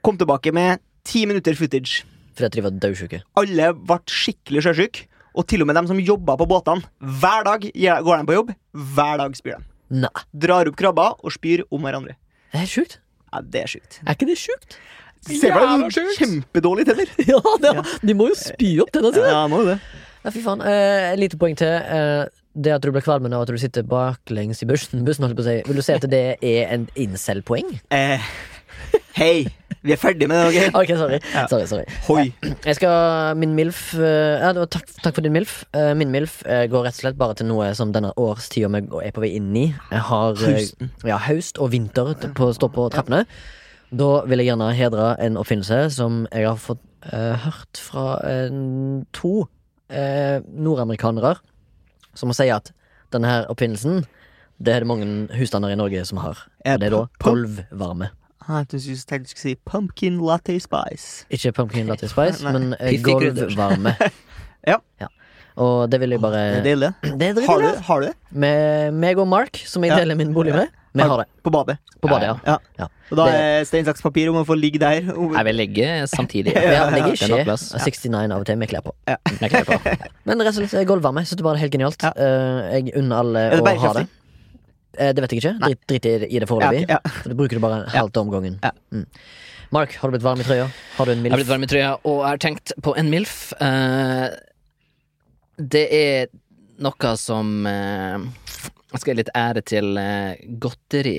Speaker 1: Kom tilbake med ti minutter footage.
Speaker 2: Fordi at de var dødsjuke.
Speaker 1: Alle ble skikkelig sjøsyke. Og til og med dem som jobba på båtene. Hver dag gjør- går de på jobb. Hver dag spyr de.
Speaker 2: Nei,
Speaker 1: Drar opp krabber og spyr om hverandre.
Speaker 2: det er sjukt.
Speaker 1: Ja, det er sjukt.
Speaker 2: Er ikke det sjukt?
Speaker 1: Se for
Speaker 6: Jævla
Speaker 1: deg
Speaker 6: sjukt!
Speaker 1: kjempedårlige tenner.
Speaker 2: Ja, det, de må jo spy opp tennene sine.
Speaker 1: Ja, må jo det.
Speaker 2: Ja, fy faen. Eh, et lite poeng til. Eh, det at du blir kvalm av at du sitter baklengs i bussen, bussen holdt jeg på å si. Vil du si at det er en incel-poeng?
Speaker 1: Eh, hei, vi er ferdig med det, ok?
Speaker 2: Ok, sorry. sorry, sorry.
Speaker 1: Hoi.
Speaker 2: Jeg skal, min MILF eh, ja, det var takk, takk for din MILF. Eh, Min MILF eh, går rett og slett bare til noe som denne årstida vi er på vei inn i, eh, har eh,
Speaker 1: Høsten.
Speaker 2: Ja, høst og vinter t- på, står på trappene. Da vil jeg gjerne hedre en oppfinnelse som jeg har fått eh, hørt fra eh, to eh, nordamerikanere, som sier at denne her oppfinnelsen det er det mange husstander i Norge som har.
Speaker 1: Eh,
Speaker 2: Og det er da
Speaker 1: pol-
Speaker 2: gulvvarme.
Speaker 1: Jeg trodde du tenkte du skulle si pumpkin latte spice.
Speaker 2: Ikke pumpkin latte spice,
Speaker 1: Nei.
Speaker 2: men eh,
Speaker 1: Piff i krydder.
Speaker 2: gulvvarme.
Speaker 1: Ja.
Speaker 2: Og det vil jeg bare
Speaker 1: Det er deilig. det.
Speaker 2: Det er
Speaker 1: Har du,
Speaker 2: dritbra.
Speaker 1: har du det?
Speaker 2: Med meg og Mark, som jeg
Speaker 1: Ja.
Speaker 2: deler min bolig med, vi har det
Speaker 1: På badet.
Speaker 2: på badet. ja.
Speaker 1: Ja.
Speaker 2: Ja.
Speaker 1: Og da
Speaker 2: Det-
Speaker 1: er stein, saks, papir om å få ligge der. Om-
Speaker 3: Jeg vil ligge samtidig.
Speaker 2: Vi har ligger i
Speaker 3: Det er nok
Speaker 2: skje
Speaker 3: plass.
Speaker 2: 69 av og til med klær på.
Speaker 3: Jeg kler på.
Speaker 2: Men rett og slett eh, gulvvarme. Jeg synes det bare er helt genialt.
Speaker 1: Ja.
Speaker 2: Eh, jeg unner alle
Speaker 1: Er det
Speaker 2: å ha det.
Speaker 1: bærekraftig?
Speaker 2: Eh, Det vet jeg ikke. Drit, drit i det- i det
Speaker 1: Ja,
Speaker 2: foreløpig.
Speaker 1: ok, ja.
Speaker 2: For du bruker det bare halvt om gangen.
Speaker 1: Ja.
Speaker 2: Mm. Mark, har du blitt varm i trøya? Har du en
Speaker 3: Jeg har blitt
Speaker 2: mild
Speaker 3: varm i trøya, og jeg har tenkt på en MILF. Eh, det er noe som eh, Jeg skal gi litt ære til eh, godteri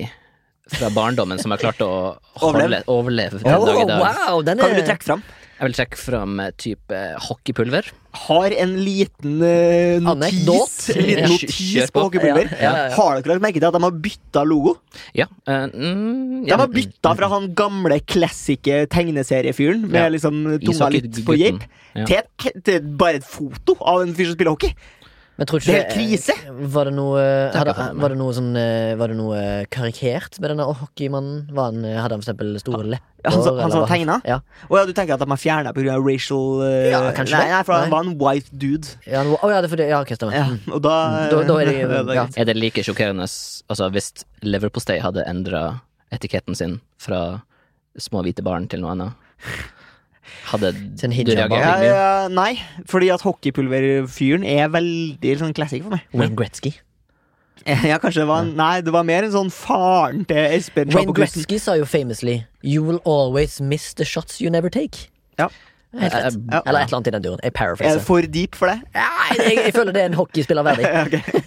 Speaker 3: fra barndommen som jeg klarte å holde,
Speaker 1: Overleve.
Speaker 3: overleve den dag i dag.
Speaker 2: wow, den
Speaker 1: Kan du
Speaker 2: er
Speaker 1: trekke fram?
Speaker 3: Jeg vil trekke fram eh, type hockeypulver.
Speaker 1: Har en liten eh, notis,
Speaker 2: Anekdot.
Speaker 1: en liten
Speaker 3: Ja.
Speaker 1: notis
Speaker 3: Kjør
Speaker 1: på
Speaker 3: på.
Speaker 1: hockeypulver.
Speaker 2: Ja, ja, ja.
Speaker 1: Har dere lagt merke til at de har bytta logo?
Speaker 3: Ja. eh, mm,
Speaker 1: De
Speaker 3: ja.
Speaker 1: har bytta fra han gamle klassiske tegneseriefyren med
Speaker 3: Ja.
Speaker 1: liksom tunga
Speaker 3: Ishockey-
Speaker 1: litt på
Speaker 3: gutten.
Speaker 1: geip,
Speaker 3: Ja.
Speaker 1: til, et- til bare et foto av en fyr som spiller hockey.
Speaker 2: Men tror ikke
Speaker 1: Det er helt krise.
Speaker 2: Var det noe, hadde,
Speaker 3: for meg.
Speaker 2: var det noe, sånn, eh, var det noe karikert med denne hockeymannen? Var han, eh, hadde han for eksempel store lepper?
Speaker 1: Ah, Han som-
Speaker 2: eller
Speaker 1: han som
Speaker 2: var
Speaker 1: tegna?
Speaker 2: Ja.
Speaker 1: Å ja, du tenker at de har fjerna pga. racial eh,
Speaker 2: Ja, kanskje
Speaker 1: Nei,
Speaker 2: det.
Speaker 1: nei, for han
Speaker 2: Nei.
Speaker 1: var en white dude.
Speaker 2: Ja, han var- å, ja, det er fordi Ja, ok, stemmer.
Speaker 1: Ja, og da,
Speaker 2: Da, da er det, ja.
Speaker 3: Er det like sjokkerende s- altså, hvis leverpostei hadde endra etiketten sin fra små hvite barn til noe annet? Hadde
Speaker 2: Til en
Speaker 3: du
Speaker 2: hijab.
Speaker 3: reagert
Speaker 1: ja,
Speaker 3: like mye?
Speaker 1: ja, Nei, fordi at hockeypulverfyren er veldig sånn classic for meg.
Speaker 2: Wayne Gretzky.
Speaker 1: Ja, kanskje det var en, Nei, det var mer en sånn faren til Espen
Speaker 2: Wayne
Speaker 1: Sjapokrusten.
Speaker 2: Gretzky sa jo famously You will always miss the shots you never take.
Speaker 1: Ja.
Speaker 2: Helt rett.
Speaker 3: Ja.
Speaker 2: Eller et eller annet i den duren. Jeg
Speaker 1: Er det
Speaker 2: paraphraser.
Speaker 1: for deep for det?
Speaker 2: Nei, jeg, jeg føler det er en hockeyspiller verdig.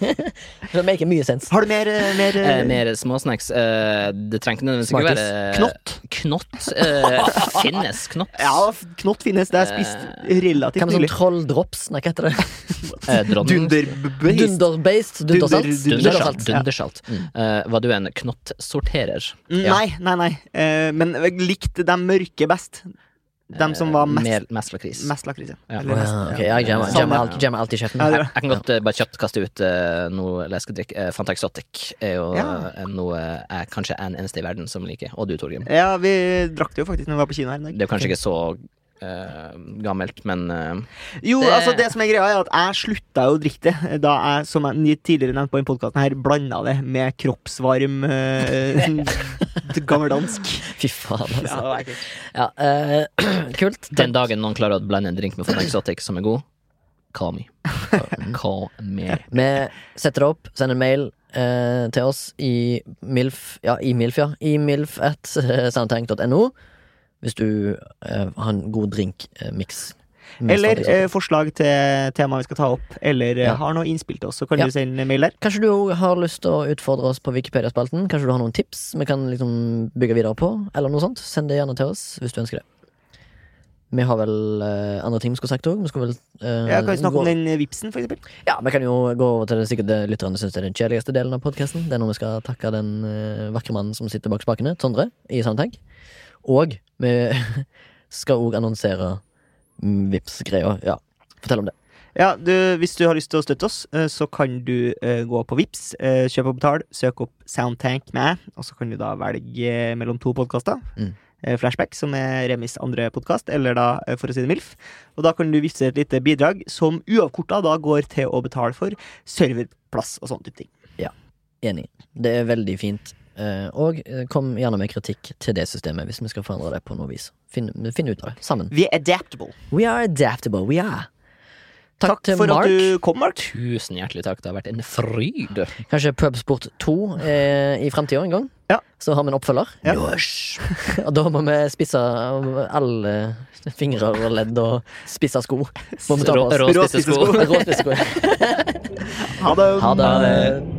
Speaker 2: Det maker mye sens.
Speaker 1: Har du mer, eh, mer eh,
Speaker 3: Eh, mer småsnacks. Eh, det trenger ikke nødvendigvis ikke
Speaker 2: Smarties.
Speaker 3: være eh,
Speaker 1: Knott.
Speaker 3: Knott. Eh, finnes knott.
Speaker 1: Ja, knott finnes. Det er spist
Speaker 2: Hva
Speaker 1: relativt
Speaker 2: med sånn
Speaker 1: nylig.
Speaker 2: trolldrops? Nei, hva heter det?
Speaker 3: Eh, dronning.
Speaker 1: Dunderbøyst.
Speaker 2: Dunderbased? Dundersalt?
Speaker 1: Dunder-
Speaker 2: Dundersalt.
Speaker 3: Dundersalt. Dundersalt.
Speaker 1: Mm.
Speaker 3: Eh, var du en knottsorterer?
Speaker 1: Nei, nei, nei. Eh, Men jeg likte de mørke best. De som var mest,
Speaker 3: Mer, mest lakris.
Speaker 1: mest lakris. ja.
Speaker 3: Ja.
Speaker 1: Eller
Speaker 2: Å,
Speaker 1: mest-
Speaker 2: ja, ok, ja, jeg jammer- jammer alt- jammer alt i
Speaker 1: Ja, det
Speaker 2: kjeften.
Speaker 1: er
Speaker 3: Jeg, jeg kan godt eh, bare kjapt kaste ut eh, noe leskedrikk. Eh, Fanta Exotic er jo
Speaker 1: Ja.
Speaker 3: eh, noe jeg kanskje er en eneste i verden som liker. Og du, Torgrim.
Speaker 1: Ja, vi drakk det jo faktisk når vi var på Kina her en dag.
Speaker 3: Det er jo kanskje ikke så eh, gammelt, men eh,
Speaker 1: Jo,
Speaker 3: Det-
Speaker 1: altså det som er greia er at jeg slutta jo å drikke det da jeg, som jeg tidligere nevnte på den podcasten her, blanda det med kroppsvarm eh, gammeldansk.
Speaker 2: Fy faen,
Speaker 1: Ja,
Speaker 2: altså.
Speaker 1: det var ekkelt.
Speaker 2: Ja, eh, kult.
Speaker 3: den dagen noen klarer å blande en drink med Fanta Exotic som er god, call me. Call me.
Speaker 2: Vi setter det opp, sender en mail eh, til oss i milf, ja, i milf, ja, i milf at eh, soundtank.no hvis du eh, har en god eh, drinkmiks.
Speaker 1: eller eh, forslag til tema vi skal ta opp, eller eh,
Speaker 2: Ja.
Speaker 1: har noe innspill til oss, så kan
Speaker 2: Ja.
Speaker 1: du sende mail der.
Speaker 2: Kanskje du også har lyst til å utfordre oss på Wikipedia-spalten? Kanskje du har noen tips vi kan liksom bygge videre på? Eller noe sånt Send det gjerne til oss hvis du ønsker det. Vi har vel eh, andre ting vi skulle sagt òg. Vi skulle vel eh,
Speaker 1: Ja, kan vi snakke
Speaker 2: gå-
Speaker 1: om den eh, vipsen, for eksempel?
Speaker 2: Ja, vi kan jo gå over til det sikkert det lytterne syns er den kjedeligste delen av podkasten. Det er når vi skal takke den eh, vakre mannen som sitter bak spakene, Sondre, i Soundtank. Og vi skal òg annonsere mm, Vipps-greia. Ja, fortell om det.
Speaker 1: Ja, du, Hvis du har lyst til å støtte oss, eh, så kan du eh, gå på Vips, eh, kjøp og betal, søk opp Soundtank med, og så kan du da velge eh, mellom to podkaster.
Speaker 2: Mm.
Speaker 1: Eh, Flashback, som er Remis andre podkast, eller da, eh, for å si det MILF. Og da kan du vippse et lite bidrag, som uavkorta da går til å betale for serverplass og sånne type ting.
Speaker 2: Enig. Det er veldig fint. Eh, Og eh, kom gjerne med kritikk til det systemet hvis vi skal forandre det på noe vis. Finn, finn ut av det sammen.
Speaker 1: Vi er adaptable.
Speaker 2: We are adaptable. We are. Takk, til
Speaker 1: for
Speaker 2: Mark.
Speaker 1: at du kom, Mark.
Speaker 3: Tusen hjertelig takk, det har vært en fryd.
Speaker 2: Kanskje Pubsport 2 eh, i framtida en gang.
Speaker 1: Ja.
Speaker 2: Så har vi en oppfølger.
Speaker 1: Ja.
Speaker 2: Og da må vi spisse alle fingre og ledd og spisse sko. Må vi ta på oss.
Speaker 3: Rå- Råspissesko.
Speaker 2: Råspissesko.
Speaker 1: Ha det.
Speaker 2: Ha det.